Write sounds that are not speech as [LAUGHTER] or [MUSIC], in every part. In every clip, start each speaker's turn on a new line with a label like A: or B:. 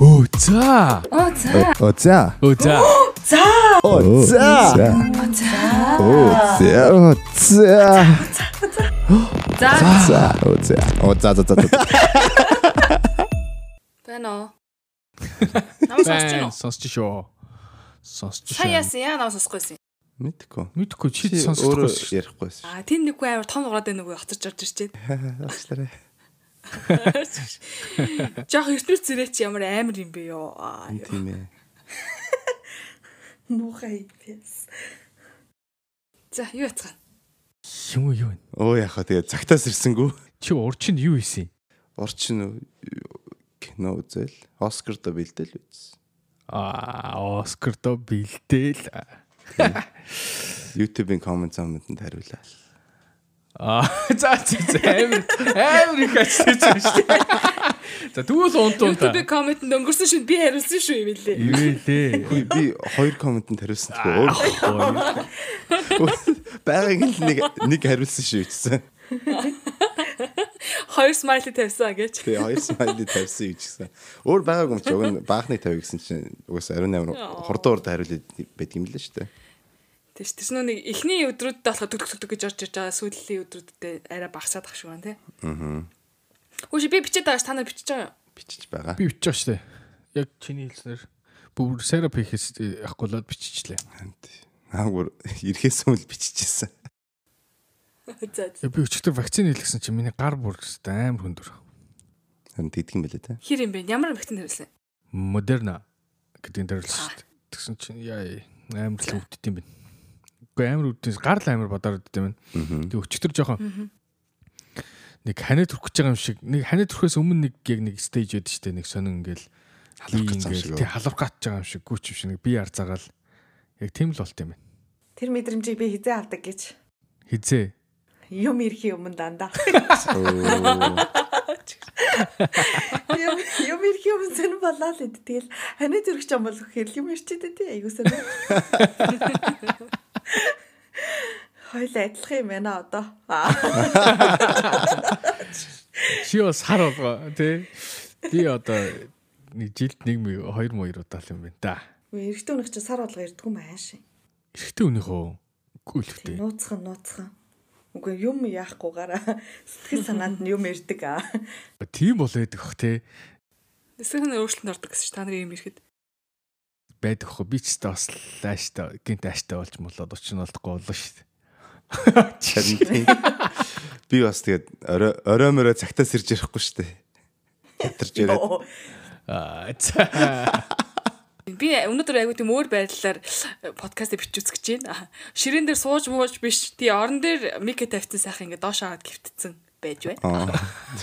A: Оо за.
B: Оо за.
C: Оо за.
A: Оо за.
B: За.
C: Оо за.
B: Оо за.
C: Оо за. Оо за.
B: За.
C: За. Оо за. Оо за за за. за.
B: Байна уу? Намаас сонсож байна уу?
A: Сонсож шүү. Сонсож шүү.
B: Сая яасан яа намаас сонсохгүй юм.
C: Мэдгүй.
A: Мэдхгүй чи сонсохгүй шүү.
C: ярихгүй байсан.
B: Аа тэн нэггүй амар том ураад байна үгүй хоцорч орж ирчээ.
C: Ачлаарай.
B: Жохо ертөнц зэрэг чи ямар амар юм бэ ёо. Аа,
C: Тийм ээ.
B: Муухай пес. За юу яцгаа?
A: Юм уу юу вэ?
C: Оо яхаа тэгээ цагтаас ирсэнгүү.
A: Чи урчин юу хийсэн?
C: Орчин кино үзэл. Оскарда бэлдэл үзсэн.
A: Аа, Оскардо бэлдээл.
C: YouTube-ийн comment зам-д хариулаа.
A: Аа, за за за, амар амар их ажиллаж байна шүү. За түүс унтуул та.
B: YouTube комментэнд өнгөрсөн шин би хариулсан шүү юм лээ.
A: Ивэлээ.
C: Би би хоёр comment-д хариулсан тэгээ өөр байгааг нь нэг нэг хариулсан шүү гэсэн.
B: Хоёр смайли тавьсан гэж.
C: Тэгээ хоёр смайли тавьсан гэж гисэн. Өөр байгааг юм чи уг нь баахны тавь гэсэн чинь угсаа 18 хурдан хурдан хариулээд байдаг юм лээ шүү дээ.
B: Тэс тэс нөө нэг эхний өдрүүдэд болоход төгтөг төгтөг гэж орж ирж байгаа сүүлийн өдрүүдэд арай багасаад ах шиг байна тий. Аа. Хөөш би бичээд байгаа ш та нар бичиж байгаа юу?
C: Бичиж байгаа.
A: Би бичиж штэ. Яг чиний хэлснээр бүр серап хийхээс яхгүйлаад биччихлээ.
C: Аагур ирэхээс өмнө бичижсэн.
B: [LAUGHS] За. за.
A: Би өчигдөр вакцины хийлгсэн чинь миний гар бүр өстө амар хөндөр.
C: Харин тэгдэг юм билээ те.
B: Хэр юм бэ? Ямар вакцин хариулсан?
A: Модерна гэдэг нь дэрлсэн штэ. Тэгсэн чинь яа амар л өвддөд юм байна. Уу амар өвддөөс гар л амар бодоор өвддөд юм байна. Тэг өчтөр жоохон нэг ханаа төрөх гэж байгаа юм шиг нэг ханаа төрөхөөс өмнө нэг яг нэг стейж байдаг штэ нэг сонин ингээл
C: Халуурах гэж байгаа юм шиг
A: тий халуурах гатж байгаа юм шиг гүүч юм шиг нэг бие арзаагаал яг тийм л болт юм байна
D: Тэр мэдрэмжийг би хизээ авдаг гэж
A: хизээ
D: юм ирэхийн өмнө дандаа. Юм юм ирэхийн өмнө зэн болоо л эд. Тэгэл ханаа зүрхч юм бол хэрэг юм ирчээд тий айгуусаа. Хоёул адилхан юм байна одоо. Аа,
A: чи бас хар болго тий би одоо нэг жилд нэг мэ- хоёр муу удаа л юм байна да
D: Эрэгтэй өнөх чи сар болго ирдгүү маяа ши.
A: эхтэй өөнийхөө гүйлхтэй
D: Нууцхан нууцхан. Үгүй юм яахгүй гараа. Сэтгэл санаанд нь юм ирдэг аа.
A: тийм бол байдаг бах тий
B: Эсвэл өөрчлөлт ордог гэсэн ш та нарын юм ирэхэд.
A: байдаг хөө би ч гэсэн бас лааштай гинт ааштай болж молоод учрын болдохгүй боллоо шүү
C: Харин тийм. Би бас тэгээд орой орой морой цагтаас ирж ярихгүй шүү дээ. Хятарч яриад
D: Оо,
A: аа за
B: Би өнөөдөр айгүй тийм өөр байдлаар э, подкаст бичиж үзэж байна. Аа, Ширээн дээр сууж мууж биш. Тий орон дээр мик тавьсан сайхан ингээ доош аваад гевтцэн байж байна.
C: Аа.
D: [LAUGHS]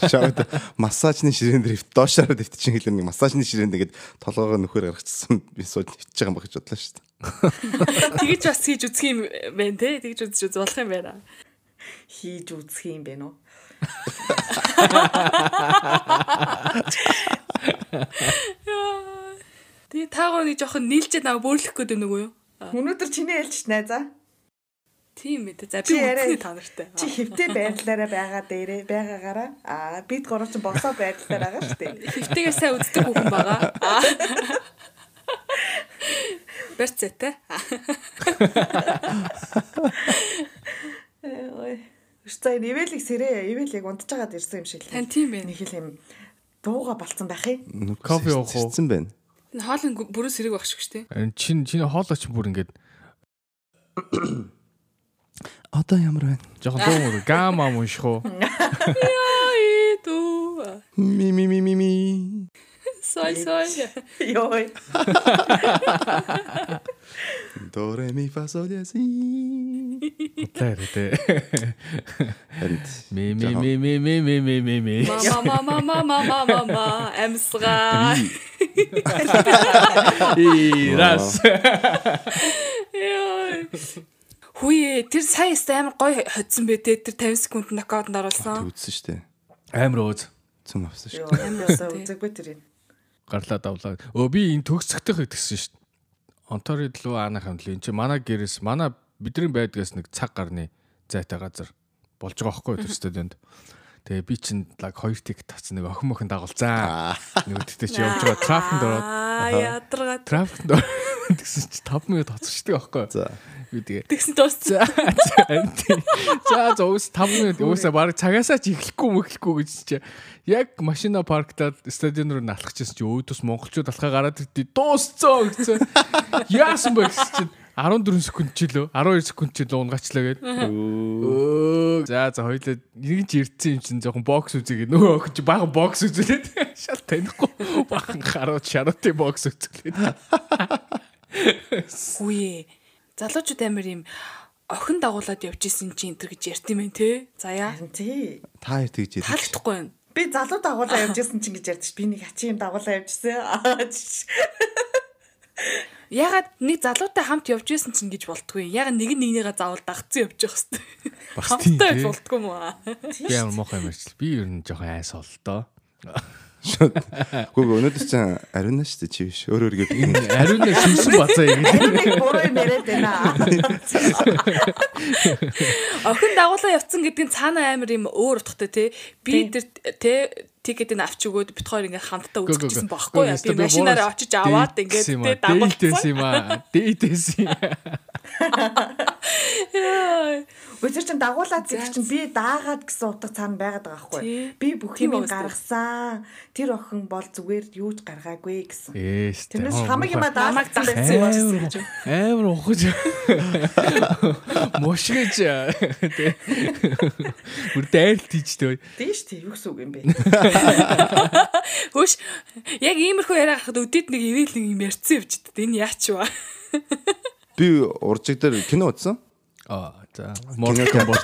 C: Шаад массажны ширээн дээр өвт доошаар дэвтчихин хэлэр нэг массажны ширээнд ингээд толгоогоо нөхөр гаргачихсан би сууж дэвтчихэж байгаа юм ба гэж бодлоо шүү дээ.
B: Тэгэж бас хийж үзэх юм байна те. Тэгэж үзэж үз болох юм байна.
D: хийж үзэх юм бэ нөө.
B: Тэгээ таагаар нэг жоохон нийлжээд намайг бөөрлөх гээд байна уу юу?
D: Өнөөдөр чиний ээлжч найзаа.
B: Тийм ээ. За би
D: Чи яриа.
B: үнэхээр та нартай.
D: Чи хэвтэй байдлаараа байгаа дээрээ байгаагаараа аа бид гурав ч босоо байдлаар байгаа шүү дээ.
B: Хэвтэйгээ сайн үздэг хүн
D: [LAUGHS]
B: байгаа. Берцэтэй.
D: Ээ, Ой. Өстэй нивэлийг сэрээ, ивэлийг унтчихад ирсэн юм шиг л.
B: Тань тийм байна.
D: Нэг хэл юм дууга болцсон байх юм.
A: Кофе уух уу?
C: Цэцэн байна.
B: Хоол нь бүрэн сэрэг багш шүү дээ.
A: Харин чин чиний хоолооч бүр ингээд
C: Одоо ямар байна?
A: жоохон дуумур гамаа мунших уу
B: Ай ту.
C: Ми ми ми ми ми.
B: Сой сой.
D: Йой.
C: До ре ми фа сол я си.
A: тэр тий
C: Энд
A: ми ми ми ми ми ми ми ми ми
B: Мама мама мама мама мама амсгаа.
A: и раз
B: Яй. Хүүе тэр сайн эсвэл амар гоё хоцсон бэ те тэр 50 секунд нокаутанд оруулсан.
C: үзсэн шүү дээ.
A: амар өөз
C: Цэм авсан шүү.
D: Йой. Амьдсаа үзэггүй тэр юм.
A: гарлаа давлаа өө би энэ төгсгөхтэй гэсэн шүү дээ онторид лөө аанахын л энэ чи манай гэрээс манай бидний байдгаас нэг цаг гарны зайтай газар болж байгаа хөөхгүй тэр стадионд Тэгээ би чин лаг хоёр тик тац нэг охин мохин дагуулцаа.
C: Аа.
A: Нөгөөдтэй чи явж байгаа трафикт ороод
B: Аа ядаргаа.
A: трафикт ороод гэсэн чи 5 минут хоцорчдаг аахгүй.
C: За.
A: Би тэгээ
B: Тэгсэн дууссан.
A: За анти. За зөвс 5 минут өөсөө баг цагаасаа ч эхлэхгүй мөхлөхгүй гэж чи. Яг машина парктаад стадион руу налхчихсан чи өөдөөс монголчууд алхаа гараад ирдээ дуусцоо гэсэн. Яасан бэ гэсэн чи 14 секунд ч лөө 12 секунд ч лөө унгачлаа гээд. Өө. За за хоёлаа нэг ч ирдсэн юм чинь жоохон бокс үзээгээ нөгөө охин чи баахан бокс үзүүлээд [LAUGHS] шал танихгүй баахан гарууд шаруутай бокс үзүүлээд.
B: Үгүй ээ. Залуучууд амар юм охин дагуулад явж исэн чи энэ төр гэж ярьт юм бэ те. За яа.
D: Тий.
C: Та хоёр тэгж ярьж.
B: Таалагдахгүй байна.
D: Би залуу дагуулаа явжсэн чинь гэж ярьдаш. Би нэг ачи юм дагуулаа явжсэн. Аа, жиш.
B: Ягаад нэг залуутай хамт явж исэн чинь гэж болтгүй. Ягаад нэг нь нэгнийгээ заавал дагцсан явж явах хэвээр.
A: Бас тийм,
B: Хамттай
A: тий.
B: явж болтгүй юм аа.
A: Би ямар мохоо юм ажил. Би ер нь жоохон айс ол доо.
C: Гүү гүү өнөөдөр чинь ариун наа шүү дээ чи биш. Өөр өөр гээд.
A: Ариун нэ сүнсэн бацаа ингэ.
D: Тэр нэг буруу юм яриад байна.
B: Охин дагуулаа явцсан гэдэг нь цаана амар юм өөр утгатай те. Би тэр те тикетийг авч өгөөд бит хоёр ингээ хамтдаа үзчихсэн байхгүй яа. Би машинаараа очиж аваад ингээ те
A: дагуулсан
B: дагуулсан.
A: юм аа. Дээдээс юм.
B: Яа.
D: Өдөр чинь дагуулаад зэрэг чинь би даагаад гэсэн утга цаана байгаад байгаа
B: Тий.
D: байхгүй. Би бүх
B: Тийм
D: юм
B: үст.
D: гаргасан. Тэр охин бол зүгээр юу ч гаргаагүй гэсэн.
A: Ээс.
D: Тэрнээс хамаг юм
B: Намайг
D: даалгасан
B: дагсан
D: байсан.
B: юм.
A: Амар ухаж. Мошгиж. Тэ. Бүр дайрт тийчтэй.
D: Дээш тий юу гэсэн үг юм бэ?
B: Хөөш яг иймэрхүү яриа гарахад өдөд нэг ивэл нэг юм ярьцсан явждаг. Энэ яач вэ?
C: Би уржиг дээр кино үзсэн.
A: Аа за. Mortal Kombat.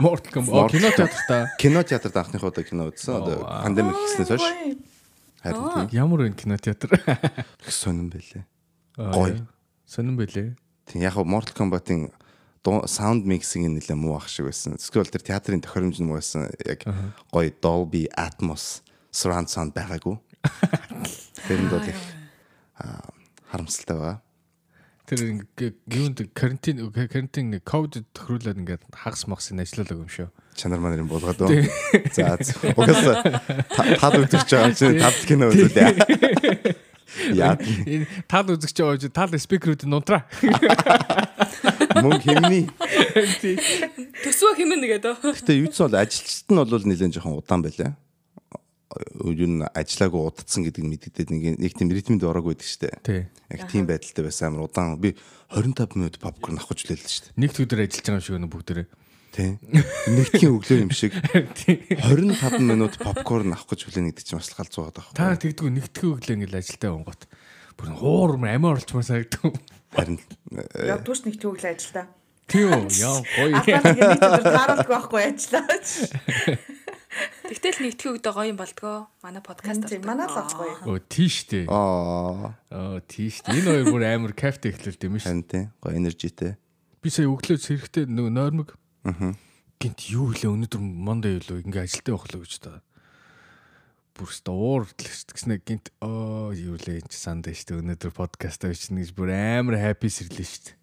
A: Mortal Kombat. Оо, кино театрт та.
C: Кино театрт анхныхоо удаа кино үзсэн. Одоо
A: Оо,
C: пандемик хийснээс хойш харин тийм
A: Ямар вэ кино театр?
C: их сонирн байлээ.
A: Аа,
C: Гоё.
A: яа. Сонирн байлээ.
C: Тийм яг хав Mortal Kombat-ийн саунд миксинг нь нэлээд муу ах шиг байсан. Эсвэл тэр театрын тохиромж нь муу байсан. Яг гоё Dolby Atmos surround sound байгаагүй. Тэрэнд бол их аа, харамсалтай байгаа.
A: Тэр ингээ юунд карантин карантин нэг ковид тохируулаад ингээд хагас махсын ажиллалаа юм шүү.
C: Чанар манарын болгоод байна. За зөв. Угаас та- тад өдөрч байгаа юм чинь тад кино үзүүлээ. Яа
A: Энэ тал үзэгч байгаа чи тал спикерүүд нь унтраа.
C: мөн хэмний.
B: Төсвөө хэмнэ гэдэг.
C: Гэтэ юуц бол ажилчт нь бол нэлээд жоохон удаан байлаа. Юу н ажиллаагүй удацсан гэдэг нь мэддэд нэг нэг тийм ритмэнд ороагүй байдаг штэ.
A: Тий.
C: Яг тийм байдалтай байсан амар удаан. Би 25 минут попкорн авахч лээ л штэ.
A: Нэг төдөр ажиллаж байгаа юм шиг нэ бүгдээрээ.
C: [LAUGHS] Тий. Нэгдгийн өглөө юм шиг
A: Тий.
C: 25 минут попкорн авахч хүлээн гэдэг чинь бас л галзуугаад
A: Та нар
C: байгаа.
A: тэгдэггүй нэгтгэх өглөө ингээл ажилтаа онгот. Бүр хуур амиа орчмаар санагдав.
C: Харин э,
D: Явдгүйч нэг төгөл ажилдаа.
A: Тийм үү? Яа гоё.
D: Албаа нэг нэг төр тааралгүй байхгүй ажиллаа.
B: Тэгтэл нэгтгэх үедээ гоё юм болдгоо. Манай подкаст
D: Тийм манай л болохгүй.
A: Оо тийш дээ.
C: аа
A: Оо тийш дээ. Энэ хоёр бүр амар кафт эхлэл дээ мэн ш.
C: харин тий гоё энержитэй.
A: Би сая өглөө зэрэгтэй нөгөө нойрмог. Аа. Гинт юу хэлээ өнөөдөр Monday юу л ингээ ажилтаа явах л гэж та. Бүр ста уурлж гэснэ гинт оо юу лээ энэ ч санд штэ өнөөдөр подкаст авчихна гэж бүр амар хаппи сэрлээ штэ.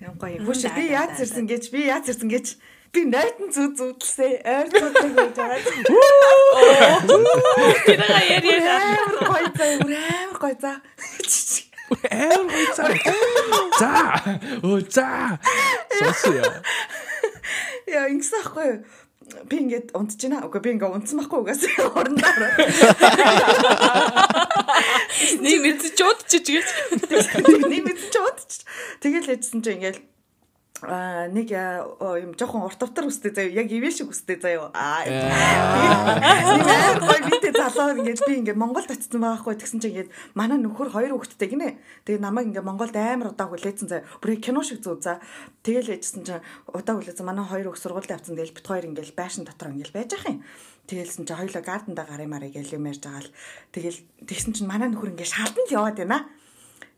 D: Янгүй. Бүш би яаж ирсэн гэж би яаж ирсэн гэж би нойтон зүг зүгдэлсэн ойр цогтой гэж байгаа.
B: Тэрэг яриа.
D: Амар гоё заа, амар гоё заа.
A: Амар гоё цаа. За. Оо за. Сосё.
D: Яа ингэсэн байхгүй юу? Би ингээд унтж байна. Уга би ингээд унтсан байхгүй угаас орондоо.
B: Нэг мэдчих удчих гэж.
D: Нэг мэдсэн ч унтчих. Тэгэл яжсэн чи ингээд а нэг а, оо, юм жоохон урт автар үстэй заяа яг ивэл шиг үстэй заяа аа нэг амар гой битээ залуу ингээд би ингээд Монголд очсон байгаа хгүй тэгсэн чинь ингээд манай нөхөр хоёр хүүхэдтэй гинэ тэгээ намайг ингээд Монголд амар удаа хүлээсэн заяа бүр яг кино шиг зүг за тэгээл яжсэн чинь удаа хүлээсэн манай хоёр хүүхд сургуульд авсан дээл бит хоёр ингээд байшин дотор ингээд байж ах юм Тэгэлсэн чи хоёлоо гарданда гарын марыг гээл юм ярьж байгаа л тэгэл тэгсэн чинь манай нөхөр ингээд шалтан л яваад байна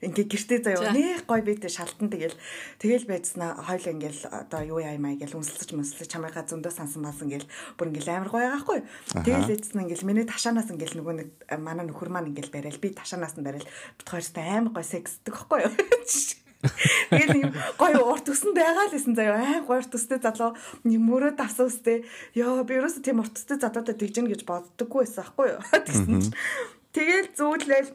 D: ингээ гэртээ
B: За.
D: заяа нэг гой бидээ шалтан тэгэл тэгэл байцснаа хоёул ингээл одоо юу яа юмаа ингээл үнсэлж мөнсэлж чамайгаа зөндөө сансан баас ингээл бүр ингээл амар гоё байгаахгүй тэгэл байцснаа ингээл миний ташаанаас ингээл нөгөө нэг э, манай нөхөр маань ингээл барайл би ташаанаас нь барайл бит хоёрт амар гой сексдэг хөхгүй юу [LAUGHS] Тэгэл юм гоё урт өсөн байгаа л гэсэн заяа. Аа гоё урт өстэй залуу юм мөрөө давсан өстэй. Йоо би ерөөсө тийм урт өстэй залуутай тэгжэн гэж боддоггүй байсан аахгүй юу? [LAUGHS] Тэгсэн чинь тэгэл зүүдлээл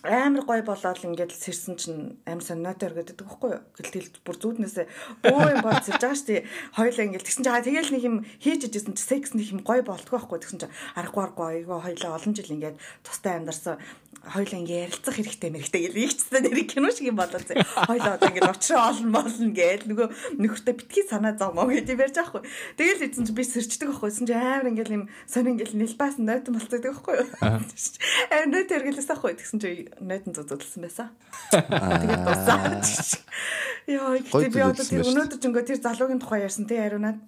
D: амар гой болоод ингээд л сэрсэн чинь амар сонинотой өргөдөг байхгүй юу? Гэлтэл бүр зүуднээсээ бөө юм бол сэрж байгаа шүү дээ. Хоёлаа ингээд тэгсэн чинь аа тэгэл нэг юм хийж ижсэн чинь секс нэг юм гой болдгоо байхгүй юу? тэгсэн чинь аргагүй аргагүй айгаа хоёлаа олон жил ингээд тустай амьдарсан хоёлаа ингээд ярилцах хэрэгтэй мэрэгтэй гэж ихчсэн нэр кино шиг юм болоо зэ. Хоёлаа одоо ингээд очроо олон болно гээл нөгөө нөхөртөө битгий санаа зовмоо гэж ярьж байгаа байхгүй юу? Тэгэл эзэн чинь би сэрчдэг байхгүй юу? Тэгсэн чинь амар ингээд юм сонин ингээд нэлбаас нойтон болцдог байхгүй юу? Амар нойт өргөлөөс байхгүй юу? Тэгсэн чинь нойтон зүдэлсэн байсан. Тэгээд дуусаа. Яа, ихтэй би одоо тэр өнөөдөр ч ингээ тэр залуугийн тухай ярьсан тий ариунаад.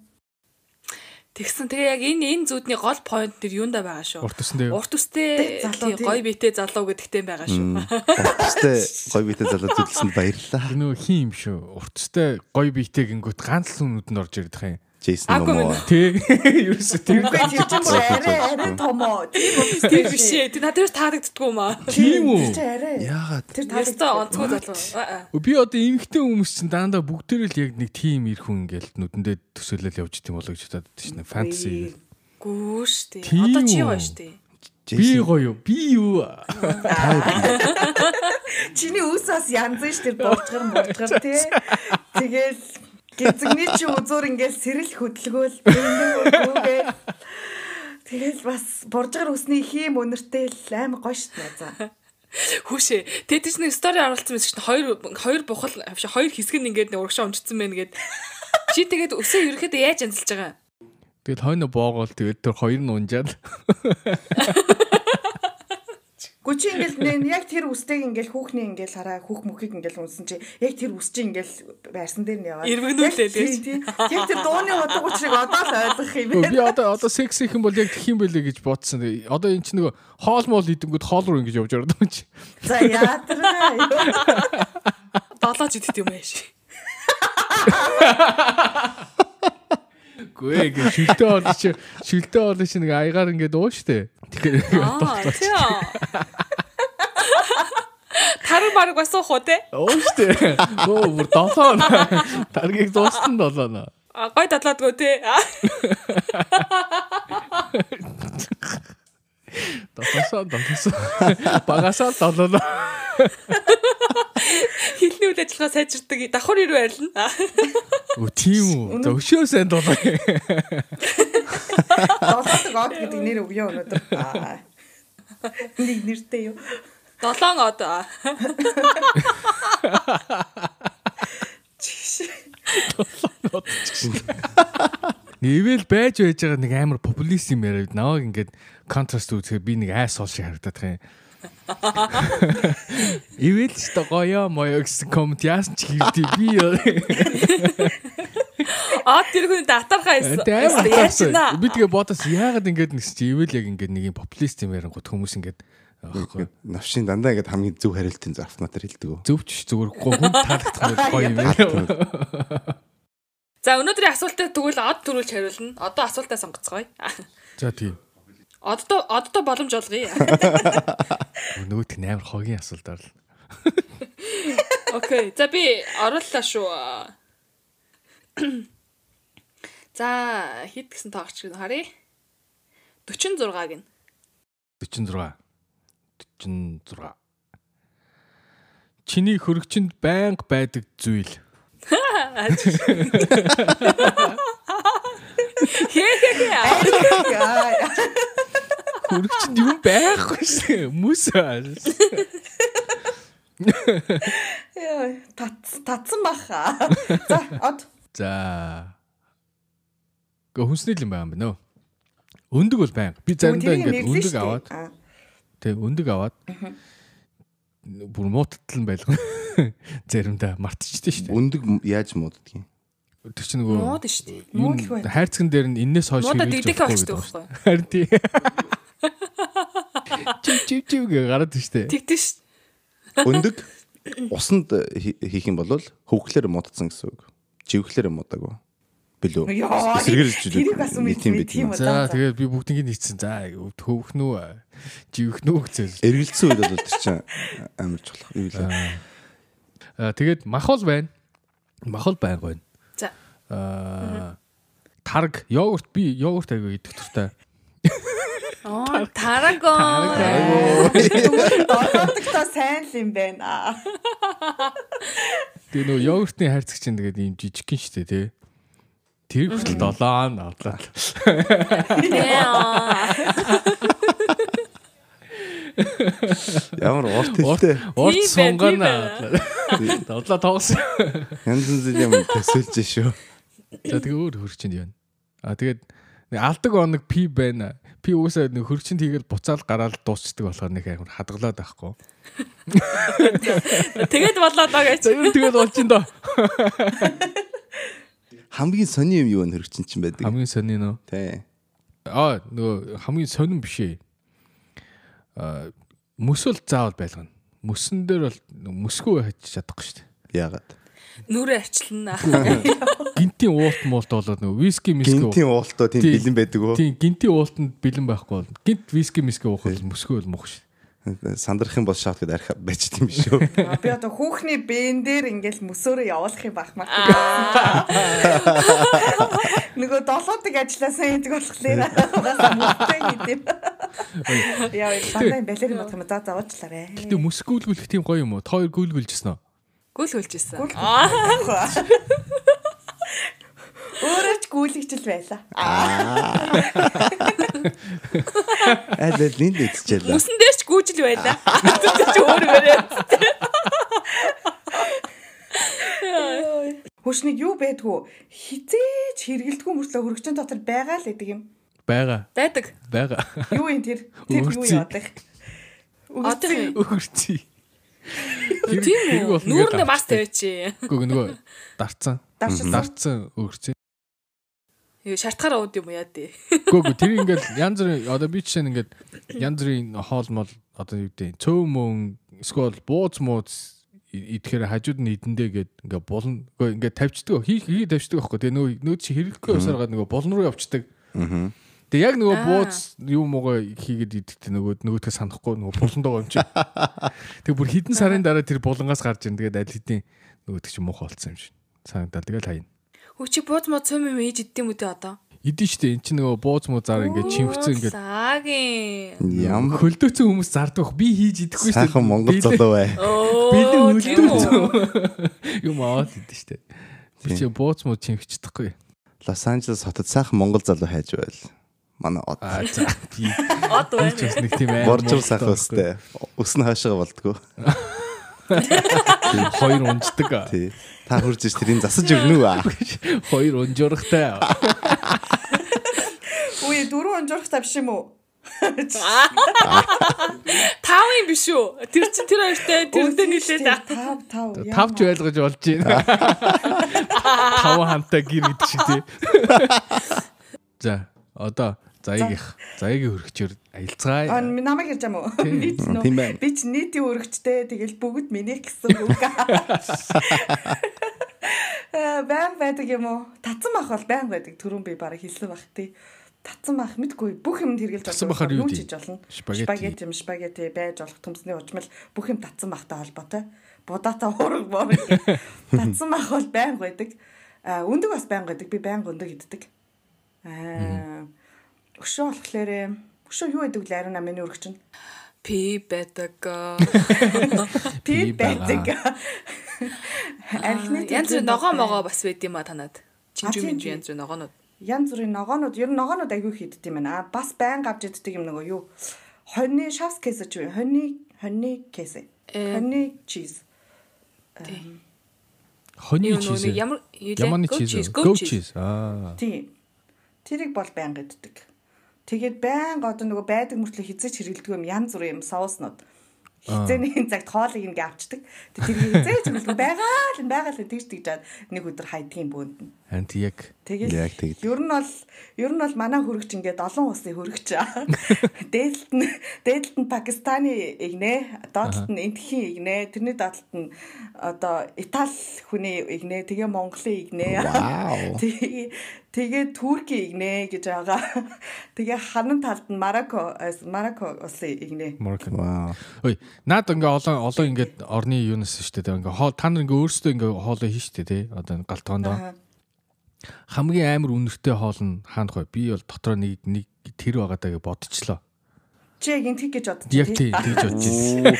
B: Тэгсэн тэгээ яг энэ энэ зүудний гол point дэр юунда байгаа шүү.
A: Урт үстэй юу?
B: Урт үстэй тий,
D: Залуу, тий.
B: гой битэй залуу гэдэгтэй байгаа шүү.
C: Гэхдээ гоё битэй залуу зүгэлсэнд баярлалаа.
A: Энэ нөгөө хин юм шүү. Уртстай гой биетэй гингүүт ганц л нүдэнд орж ирдэг хэ.
C: Джейсон
B: Аггүй
C: Момо.
B: минь.
A: Тэ. Юусе тэр
D: Үгүй тийм ч бүр арай арай томоо. Тийм үү?
B: [LAUGHS] Тэр биш ээ. Тэр надад ерөөс таадагддгүй юм аа.
A: тийм
D: Чи
A: үү?
D: арай.
C: Яагаад?
D: Тэр
B: Ерөөсөө онцгүй залуу. Аа, аа.
A: Би одоо эмхтэй хүмүүс чинь дандаа бүгдээр л яг нэг тим ирэх хүн ингээл нүдэндээ төсөөлөл явж идэм болоо гэж бодоод тийм фэнтези.
B: Гүү штэ.
A: Тийм
B: Одоо чи
A: үү.
B: гоё штэ.
A: Би
C: Джейсон
A: гоё юу? Би юу?
D: Чиний үс бас янз нь ш тэр бурчгар мурчгар тий. Тэгэл гизэгний чи үзүүр ингээл сэрэл хөдөлгөөл бүгдээ. Тэгэл бас буржгар үсний хийм өнөртэй л амар гоё шт наа.
B: Хүүшээ. Тэд чинь нэг стори оруулсан байсан чинь хоёр хоёр бухал авши хоёр хэсэг нь ингээд нэг урагшаа өмжсөн байна гээд. Чи тэгээд өсөө ерөөхдөө яаж анзалж байгаа юм?
A: Тэгэл хойно боогоол тэгэл тэр хоёр нь унжаад
D: Гүчи ингээл нэ- яг тэр үстэйг ингээл хүүхний ингээл хараа хүүх мөхийг ингээл унсан чи яг тэр үс чи ингээл байрсан дээр нь яваад.
B: Ирвэгнүүлээ л гэж.
D: тий. тий. Яг тэр дууны утга учирыг одоо л ойлгох юм
A: Өө, би
D: байна.
A: одоо одоо секс их юм бол яг тэх юм бэлээ гэж бодсон. Одоо эн чинь нөгөө хоол моол идэнгүүд хоол руу ингэж явж ордог юм чи.
D: За яатраа.
B: Долоож идэт юм ааш.
A: Гүй гэ шилтэ орж чи шилтэ орж чи нэг аягаар ингэж ууштэй. Тэгэхээр
B: Аа, [LAUGHS] тийм. Тарын баг бас уух уу те?
A: ууштэй. Оо бүр долоо. Таргийг дуустан долоо.
B: А, Гой дадлаадгүй те. Аа,
A: Долоосоо долоосоо. Багасаа долоо.
B: Хилний үйл ажиллагаа сайжирдаг давхар ирүү арилна.
A: Өө тийм үү. За өшөө сайн долоо.
D: Долоодог од гэдэг нэр өгөө өнөөдөр. Аа. Нэг нэртэй юу?
B: Долоон од. аа.
A: Нэвэл байж байж байгаа нэг амар популист юм яриад наваг ингээд контраст үүсгэхээр би нэг айс ол шиг харагдах юм. [LAUGHS] Ивэл ч та гоё моё гэсэн комент яасан ч хийвдий би.
B: Од тэрхүү датархаа ирсэн.
A: Тэ амар
B: Яаж
A: таарсан.
B: гинэ?
A: Би тэгээ бодос яагаад ингээд нэгс чи ивэл яг ингээд нэг юм популист юм ярингууд хүмүүс ингээд аахгүй.
C: навшийн дандаа ингээд хамгийн зөв хариултын зарфнаа тэр хэлдэг үү?
A: Зөвч зүгээр гоо хүн таалагдах нь гоё юм яриа.
B: За өнөөдрийн асуултад тэгвэл од төрүүлж хариулна. Одоо асуултаа сонгоцгоё.
A: За тийм.
B: Оддоо оддоо боломж олгоё.
A: Нөгөөт нь амар хогийн асуулт орлоо.
B: Окей. За би орууллаа шүү. За хит гэсэн тоогч гэн харъя. 46 гин.
A: 46 46 Чиний хөрөгчөнд байнга байдаг зүйл.
B: Хээ.
D: Аа.
A: Хөрөгчөнд юм байхгүй шээ. Мөс.
D: Яа, Тац татсан баха. За, од.
A: За. Гэхдээ хүнсний л юм байгаа юм байна. өө. Өндөг бол байнга. Би заримдаа
D: Тэрийг
A: ингээд
D: нэрлэн
A: өндөг
D: штэ.
A: аваад,
D: Аа.
A: тэг өндөг аваад бүр мууттал нь байлгүй. [LAUGHS] Заримдаа мартчихдээ шүү дээ.
C: Өндөг м- яаж мууддаг юм?
A: Тэр чинь нөгөө
B: Мууд шүү дээ.
A: юу
D: Муудал
A: н-
D: байна.
A: хайрцагн дээр нь энэс хойш
B: Муудаа
A: хэрэглэж
B: дэгдэхээ
A: болохгүй гэдэг
B: очдог байхгүй.
A: байна. Харин тийм. Чив чив чив гэ гараад штэ.
B: Тэгтэн ш.
C: Өндөг усанд хи- хийх юм бол хөвгөлөр муудсан гэсэн үг. Живхлэр муудаагүй. Билүү.
D: Яа,
C: Эсэргэрэлж
D: тэрийг бас
C: нэг тийм
D: мэдгүй,
C: бид юм.
D: тийм үү?
A: За
D: За, за.
A: тэгээд би бүгднийг нийцсэн. За төвхнүү живхнүү гэсэн.
C: Эргэлцсэн үед бол тэр чинь амарч болох юм лээ.
A: Аа, Тэгээд махал байна. Махал байнг байна.
B: За.
A: Аа, Тарг йогурт би йогурт аягүй идэх туфтай.
B: Оо, тарагон.
D: Дотооддоо сайн л юм байна.
A: Тэгээ нөө йогуртын хайрцаг чинь тэгээд юм жижигхэн штэ тий. Тэр хүртэл долоо надлаа.
B: Яа.
C: Ямар урт хэлтэй.
A: Урт
B: Тийм бай, тийм бай.
A: сунгана. Долоо тоглосон.
C: Янз янз юм төсөөлж шүү.
A: За тэгээ өөр хөрчинд явна. А тэгээд нэг алдаг оног пи байна. Пи үсээ нэг хөрчинд хийгээл буцаал гараал дуусчдаг болохоор нэг амар хадгалаад байхгүй.
B: Тэгэд болоод байгаа
A: За
B: чи.
A: ер нь тэгэл бол чинь доо.
C: Хамгийн сони юм юу нэрч чинь байдаг.
A: Хамгийн сонин нөө.
C: Тий.
A: Аа нөгөө хамгийн сонин биш ээ. Аа мөсөл заавал байлгана. Мөсөн дээр бол мөсгөө хачиж чадахгүй шүү дээ.
C: Яагаад?
B: Нүрэ арчилна.
A: Гинтийн уулт муулт болоод нөгөө виски мискөө.
C: Гинтийн уултаа тийм
A: Тийм.
C: бэлэн байдаг уу?
A: Тийм гинти уултанд бэлэн байхгүй бол гинт виски мискээ уух бол мөсгөө бол мөх шин.
C: Сандрах юм бол шаут гэдэг архи байж тийм шүү.
D: [LAUGHS] Би одоо хүүхний бээн дээр ингээл мөсөөрөө явуулах юм бахмаар. Нөгөө долоодаг ажилласан гэдэг болохоор бас мөстэй гэдэг. Яа, дандаа юм балерин болох юм за завуучлаарэ.
A: Гэтэ мөсгүүлгүүлэх тийм гоё юм уу? Тоор гүйлгүүлжсэн үү?
B: Гүл хөлжсэн.
D: Өөрөө ч гүйлгэж л байла.
C: Айл айл энд идчихлээ.
B: Мөсөн дээр ч гүүжил байлаа. Тэд ч өөр өрөө.
D: Хөшнийг юу байдгүй хизээч хэрэгэлдэггүй мөртлөө хөргөчөн дотор байгаа л гэдэг юм.
A: Бага.
B: Байдаг.
A: [LAUGHS] Бага.
D: Юу юм тэр? Тэр юу
A: Өгөрцөн.
D: яадаг?
B: Одоо
D: Өгөрцөн.
A: Өгөрчи.
B: тийм үү? Нүүр нь бас тавиач.
A: Гүг
B: [LAUGHS]
A: нөгөө дарцсан.
D: Дарцсан.
A: Дарцсан өгөрчи.
B: Юу шартахаар ууд юм уу яа дээ.
A: Гүг тэр ингээл янз бүрийн одоо би чинь ингээд янз бүрийн хоолмол одоо юу гэдэг цөөн мөн эсвэл бууз мууз идэхээр хажууд нь идэндээ гээд ингээ булна Гөө, ингээ тавьчдаг хий хий тавьчдаг байхгүй тэгээ нөө нөө чи хэрэггүй усаргаа нөгөө булн руу явчихдаг
C: Мгм.
A: Тэгээ яг нөгөө
B: Аа.
A: бууз юу муугаа хийгээд идэхтэй нөгөө нөгөөдхөө санахгүй нөгөө буландаа юм чи. Тэгээ бүр хідэн сарын дараа тэр булангаас гарч ирнэ. Тэгээд аль хэдийн нөгөөдх чи муухай болцсон юм шиг. Санагдал тэгэл хаяа.
B: Хүчи бууз мод цум юм ээж иддэм үү дээ одоо.
A: Идэн штэ эн чи нөгөө бууз муузаар ингээд чимхцэн ингээд
B: Саагийн.
C: Ямар
A: хөлдөөцөн хүмүүс зардвах би хийж идэхгүй штэ.
C: сайхан монгол залуу бай.
B: Оо.
A: Бэлэн
B: тийм үү?
A: хөлдөөцөн [LAUGHS] юм аваад идэн штэ. Би чи бууз мууз чимхчихдаггүй.
C: Лос Анжелес хотод сайхан монгол залуу хайж байл. Манай од.
A: Аа за. [LAUGHS] Би
B: Од
A: ч бас
B: байна.
A: нэг тийм аим.
C: Боржур сайхан өстэй. Өснө хаашаа болдгоо.
A: Хоёр
C: [LAUGHS]
A: унждаг.
C: Тий. Та хурж иж тэрийг засаж өгнө үү? аа?
A: Хоёр унжуурхтай.
D: Үе дөрөв онжорхтой биш юм уу?
B: Тав юм биш үү? Тэр чин тэр хоёртай тэрнтэй нилээд аа.
D: 5 5
A: Тавч байлгаж болж байна.
B: [LAUGHS]
A: Тав хамтаа гэр гэдэг шиг тий. За, одоо заяг их. Заягийн хөргчөөр
D: Аа
A: аялцгаая.
D: намайг ярьж юм уу? Би ч
C: Тийм
D: нөө
C: байна.
D: би ч нийтийн өргөчтэй тэгэл бүгд минийх гэсэн үг. Э, Баян байдаг юм уу? Татсан бах бол баян байдаг. Төрөн би бараг хэлсэн бах тий. Татсан бах мэдгүй бүх юм хэрглэж
A: Татсан бахаар юу дээ?
D: хийж болно.
A: Спагетти.
D: Спагетти, юм, спагетти байж болох төмсний ужмал бүх юм татсан бахтай холбоотой. Будаатай уурга борг. Татсан бах бол баян байдаг. А өндөг бас баян байдаг. Би баян өндөг иддэг. Аа Өшөө болохоор өшөө юу гэдэг вэ? Арина миний өргөч нь.
B: Пи байдаг. аа.
A: Би
D: Пи
A: байгаа.
D: байдаг.
A: [LAUGHS]
D: Архины
B: Янз бүр ногоо могоо бас байд юм а танад.
D: А,
B: Чинжүү
D: тийм,
B: минжүү
D: тийм.
B: янз бүр ногоонууд.
D: Янз бүрийн ногоонууд, ер нь ногоонууд аягүй хийдт юм байна. Аа бас байн гавж иддэг юм нөгөө юу? Хоньны шавс кейс ч юм. Хоньны хоньны кейс.
B: Э.
D: Хоньны чиз.
A: Хоний
B: Юу
A: чиз.
B: нөө ямар юу лээ?
A: Яманы
B: Goat cheese,
A: чиз.
B: goat
A: Go чиз.
B: cheese.
A: Аа.
D: Тий. Тэрийг бол байн иддэг. Тэгээд байн одоо нөгөө байдаг мөртлөө хизээч хэргэлдэг юм янз бүрийн юм сауснууд. Хизээний [LAUGHS] цагт хоолыг ингээ авчдаг. Тэгээд тэр хизээч хэргэлдэг байгаа л байгаа л тэгж тэгж жаад нэг өдөр хайдгийн бөөнд нь.
A: Ант яг.
D: Тэгэл
C: Яг тэгд.
D: Ер нь бол ер нь бол манай хөргөч ингээд олон улсын хөргөч.
C: [LAUGHS]
D: Дээдлэлт нь дээдлэлт нь Пакистаны игнэ, доотлолт нь Индхийн игнэ, тэрний доотлолт нь одоо Итали хүний игнэ, тэгээ Монголын игнэ. [LAUGHS]
C: Вау.
D: Тэгээ Тэгээ Турки игнэ гэж байгаа. Тэгээ ханан талд нь Марокко Марокко улсын игнэ.
A: Моркан.
C: Вау.
A: Ой, наад ингээ олон олон ингээд орны юунаас шүү дээ. Ингээ хоол та нар ингээ өөрсдөө ингээ хоолоо хийн шүү дээ. Одоо галтгоондоо.
D: Аха.
A: Хамгийн амар үнэртэй хоол нь хаана хой? Би бол дотроо нэг нэг тэр байгаа даа гэж бодчихлоо.
D: Чи яг энэ тэг гэж бодчих.
A: Яг тийм тэгж бодож ирсэн.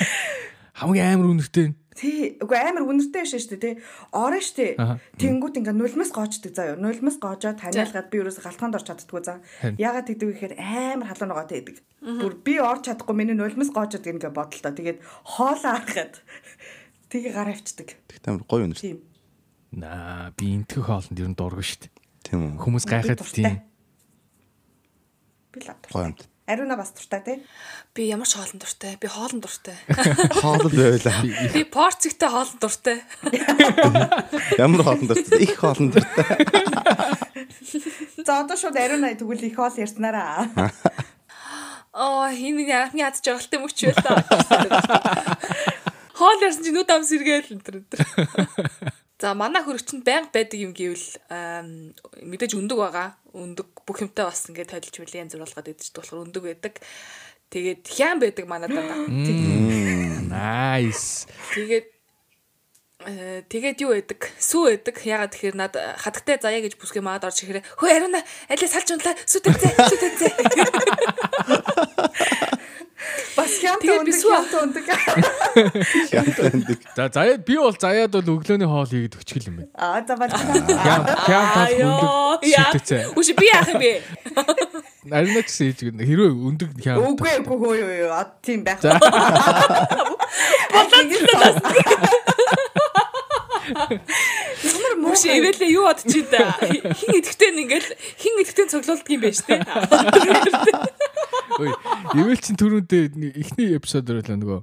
A: Хамгийн амар үнэртэй нь.
D: Тий, үгүй амар үнэртэй шээ шүү дээ, тий. Орон шүү дээ.
A: Аха.
D: Тэнгүүд ингээ нулимс гоочдаг заяа. Нулимс гоожоо таниалгаад би юурээс галтханд орч чаддггүй заа.
A: Харин.
D: Яагаад тэгдэг вэ гэхээр амар халуун нугаатай идэг. Бүр би орч чадахгүй миний нулимс гоожод гэнгээ бодлоо. Тэгээд хоолоо [LAUGHS] харахад тэгээ гар авчдаг.
C: Тэгтээ амар гоё өнөрт.
D: Тийм.
A: Наа, би энтгэх хоолнд ер нь дургу шүү дээ.
C: Тийм үү.
A: Хүмүүс гайхаад тийм.
D: дуртай. Би л ад.
C: Гоё юмт.
D: Ариуна бас дуртай тий.
B: Би ямар ч хоолн дуртай. Би хоолн дуртай.
C: Хоол байлаа.
B: Би порцэгтэй хоолн дуртай.
C: Ямар хоолн дуртай. Их хоолн дуртай.
D: За одоо шууд ариуна тэгвэл их хоол
A: [LAUGHS]
D: ярьснараа.
B: Оо, энэ миний анхны хад жагалтай мөч байлаа. Хоол ярьсан чи нүд ам сэргээл энэ төр энэ төр. За манай хөрөгчөнд байнга байдаг юм гэвэл ам, мэдээж өндөг байгаа. Өндөг бүх юмтай бас ингээд тойлж мөлий янз бүр болгоод идэж болохоор өндөг байдаг. Тэгээд хян байдаг манай дандаа.
A: Nice.
B: Тэгээд э, тэгээд юу яадаг? Сүү яадаг. Ягаад тэгэхээр над хатгатай заяа гэж бүсгүй маад орж ирэхээр хөө ариуна аль салж унлаа сүү тэнцээ сүү тэнцээ.
D: Бас хямд
B: Тэгээд би
D: өндөг
B: сүү-
D: хямд өндөг.
A: За заяад би бол заяад бол өглөөний хоол хийгээд өчгөл юм байна.
D: [LAUGHS] Аа за болж
A: [LAUGHS]
D: байна.
A: Кям кям тал өндөг шүтцээ.
B: Үгүй би яах юм бэ?
A: Арина ч хийж гэнэ. Хэрвээ өндөг кям.
D: Үгүй үгүй хөө юу юу ад тийм байх. Болоод Ямар муу
B: Үгүй ивэлээ юу бодож ин да. Хин идэхтэй нь ингээл хин идэхтэй цоглуулдаг юм байна [LAUGHS] штэ.
A: Ой, Ивэл чин түрүүндээ нэг- эхний эпизод дээр л нөгөө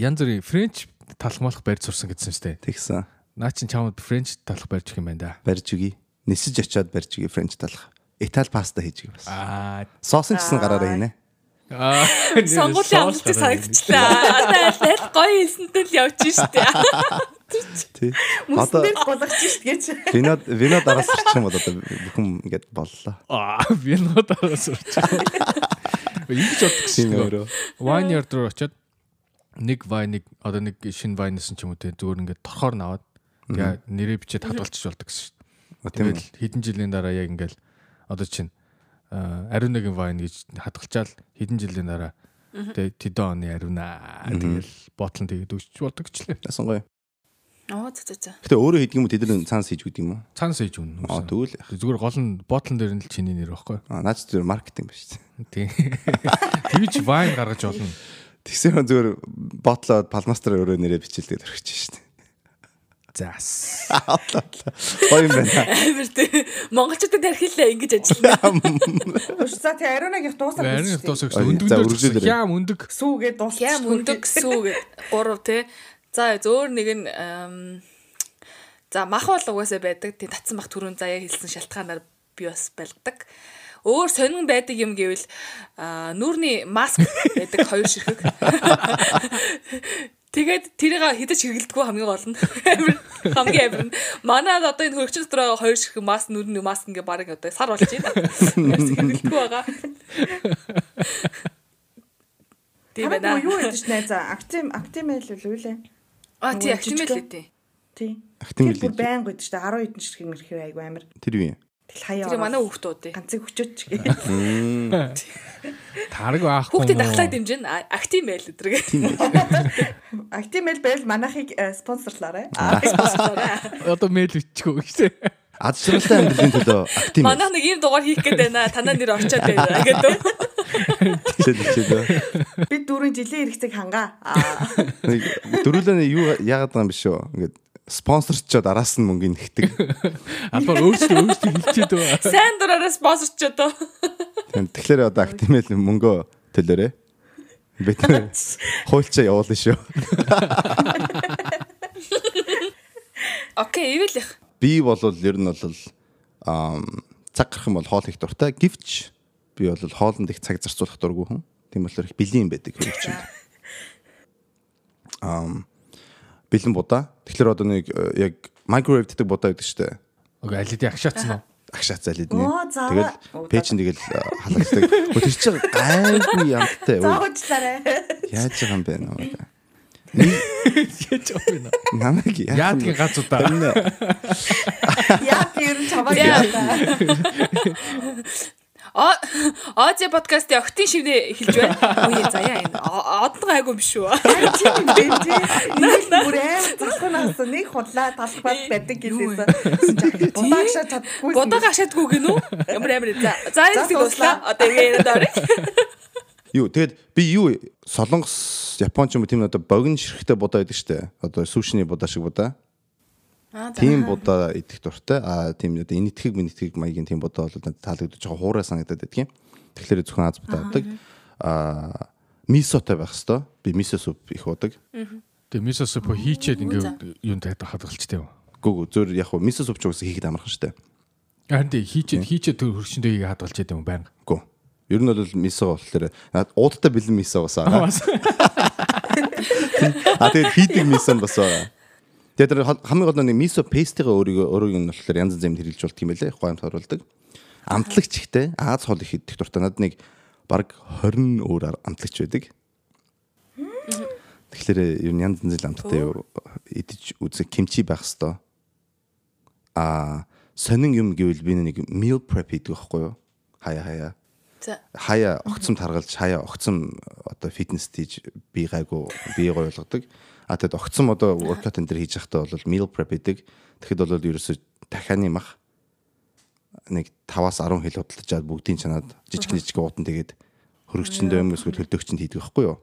A: янз бүрийн френч талхмалах барьж сурсан гэсэн штэ.
C: Тэгсэн.
A: Наа чин чамд френч талх барьж өгөх юм байна да.
C: Барьж өгье. Нисэж очиад барьж өгье френч талах. Итали паста хийж өгье бас.
A: Аа.
C: Соос нь ч гэсэн гараараа хийнэ.
B: Сонгуулийн амлалтыг санагдчихлаа. Одоо аль аль гоё хэлсэнтэй л явж штэ.
C: Тий. Одоо
D: мөснөд болгоч шүү дээ гэж.
C: вино вино дараас ирчих юм бол одоо бүхэн ингээд боллоо.
A: Аа, би нотаа сурч. Ингэж боддог
C: Тийм
A: шүү
C: өөрөө.
A: дээ. Wine yard руу очиод нэг вайн нэг одоо нэг шинэ вайнсэн ч юм уу те зүгээр ингээд торхоор наваад тэгээ нэрээ бичээд хадгалчих болдог гэсэн шүү дээ.
C: Тийм
A: Тэгэл хэдэн жилийн дараа яг ингээл одоо чинь аа, ариунагийн вайн гэж хадгалчаал хэдэн жилийн дараа тэгээ тэдэн оны ариунаа тэгэл ботлон тэгээд өгч болдог ч лээ.
C: Ясан гоё.
B: Оо зөө зөө зөө.
C: Гэтэ өөрөө хийдэг юм уу тэдэр цаанс хийж өгдөг юм уу?
A: Цанс ээж үнэн.
C: Аа
A: үсэн.
C: тэгвэл
A: Зүгээр гол нь ботлон дээр нь л чиний нэр байхгүй.
C: аа наач зүгээр маркетинг [LAUGHS] биш.
A: Тий. Тэгж вайн гаргаж болно.
C: Тэгсэн хүн зүгээр ботлоод палмастраа өөрөө нэрээ бичилдэг төрчихж штэ.
A: Заас.
C: Гоё юм байна.
B: Амар тий. Монголчуудад тархилаа ингэж ажиллана.
D: Уш за тий ариунагийнх дуусах
A: Вайн
D: гэж.
A: тусагч
C: Ой,
A: өндөг
C: за,
A: дээр
C: үргэлжлүүлээрэй.
A: хям өндөг.
D: Сүүгээ дуусах.
B: Хям өндөг гэсүү гэд гурав те. За зөөр нэг нь ам, за мах бол угаасаа байдаг. Тэг татсан мах түрүүн заяа хэлсэн шалтгаанаар би бас байлгадаг. Өөр сонин байдаг юм гэвэл а, нүүрний маск байдаг хоёр ширхэг. Тэгээд тэрийг хідэж хэрэглэдэггүй хамгийн гол нь. Амар- Хамгийн амар. нь. Манайд одоо энэ хөрөгчд дөрөө хоёр ширхэг маск нүүрний маск ингээ баг одоо сар болж байна. Хэрэглэдэггүй байгаа. Тийм байна.
D: Тамаа юу ядэж найзаа? Актим актимэл л үлээ.
B: А тий
D: Нөгөө
B: актимэл
D: жижигхэн.
B: л тий.
D: Тий.
C: Актимэл
D: Тэр бүр
C: л.
D: байнг гэдэг чинь 10 хэдэн ширхэг мэрхүү айгу амир.
C: Тэр юу юм?
D: Тэгэл хаяа.
B: Тэр манай хүүхдүүд тий.
D: ганцыг хүчөөч гэж.
A: Тарга аахгүй.
B: Хүүхдээ дахлаа дэмжин актимэл өдрөг.
D: Актимэл байл манайхыг э, спонсорлаарай.
B: [LAUGHS]
A: Одоо мэйл өччихөө гэсэн.
C: Ад ширэлтэй амьдралын төлөө актив
B: Манайх нэг ийм дугаар хийх гээд байна. Танаа нэр орчоод байна гэдэг.
C: хичээл хичээлээ.
D: Бид дөрөв жилийн хэрэгцээг хангаа. [LAUGHS] Аа.
C: Нэг Дөрүлэн юу яагаад байгаа юм биш үү? Ингээд спонсорчод араас нь мөнгө нэгтэг.
A: Албаар өөрсдөө өөрсдөө хилчээд байгаа.
B: Сайн дураараа спонсорч одоо.
C: Тэгэхээр одоо актимэл мөнгөө төлөөрэй. Бид хуульчаа явуулна шүү.
B: Окей, ивэл их.
C: Би бол ер нь бол аа цаг гарах юм бол хоол их дуртай. Гэвч би бол хоолнд их цаг зарцуулах дургүй хүн. Тийм болохоор их бэлэн юм байдаг хэрэг
D: [LAUGHS]
C: чинь. Аа бэлэн будаа. Тэгэхээр одоо нэг э, яг microwave гэдэг будаа гэдэг шүү дээ.
A: Окей, аль хэдийн агшаацсан уу?
C: агшаа цайл идэнэ.
D: Оо, заавал.
C: Тэгэл
D: Оо,
C: пэйж нь тэгэл а, халагдаг. Өө, Тэр чинь
D: [LAUGHS]
C: гайгүй ямтай. Өө,
D: Заавчлаарэ.
C: Яаж байгаа юм бэ нөө?
A: Яаж байна?
C: Намайг
A: Яадгийн гац удаа.
D: Яа би ер нь чамаа
B: Яа.
D: яа.
B: О- Ози подкастын октин шивнэ эхэлж байна. Үгүй заяа энэ. О- Одон гайгүй биш [LAUGHS] үү?
D: Тийм би тийм. Нэг бүр аим залхан асан нэг худлаа талбал байдаг гэсэн. Будаашаа чадгүй.
B: Бодог ашаадгүй гэнэ үү? Ямар амар за. За энэ зүйл дуслаа. Одоо ингэ яриад орё.
C: Юу тэгэд би юу солонгос Япон ч юм уу тийм одоо богино ширхтэй будаа идэг штэ. Одоо сушины будаа шиг будаа.
B: Аа, за.
C: Тийм будаа идэх дуртай. А тийм одоо энэ итгэг мэн итгэг маягийн тийм будаа бол надад таалагдаж байгаа хуурай санагдаад байдаг юм. Тэгэхээр зөвхөн аз будаа авдаг. А мисотой байх хэвээр. Би мисо суп их удаг.
A: Тэгээ мисо суп хийчээд ингээ юм тайдаг хадгалчтай юм.
C: Гүг зөөр яг хуу мисо суп ч гэсэн хийхэд амархан штэ.
A: Харин тий хийчээд хийчээд төр хөршөндөө хадгалчаад юм байна.
C: Гү. Ер нь бол мисо болохоор надад уудтай бэлэн мисо бас аа. А тэгээд хийдэг мисэн бас байгаа. Тэгээд тэр хол- хамгийн гол нь нэг мисо пестигээ өөрийгөө өөрийг нь болохоор янз янзээр хэрэгжилж болт юм байлээ. Гоомт оруулдаг. Амтлагч ихтэй Аз хол их идэх дуртай. Над нэг баг 20 өөр амтлагч байдаг. Тэгэхээр ер нь янз янзэл амттай юу идэж үзэх кимчи байх хэвээр. А сонин юм гэвэл би нэг meal prep хийдэг байхгүй юу? Хаяа хаяа
B: За.
C: хаяа огцом таргалж хаяа огцом одоо фитнес тийж бие гайгүй бие гоё болгодог. А тэгэд огцом одоо workout энэ төр хийж байхдаа бол meal prep гэдэг. Тэгэхэд бол ерөөсөө дахианы мах нэг 5-аас 10 хил худалдаж чад бүгдийн чанаад жижиг жижиг уутан тэгээд хөрөгчөндөө юм эсвэл хөлдөгчөнд хийдэг байхгүй юу?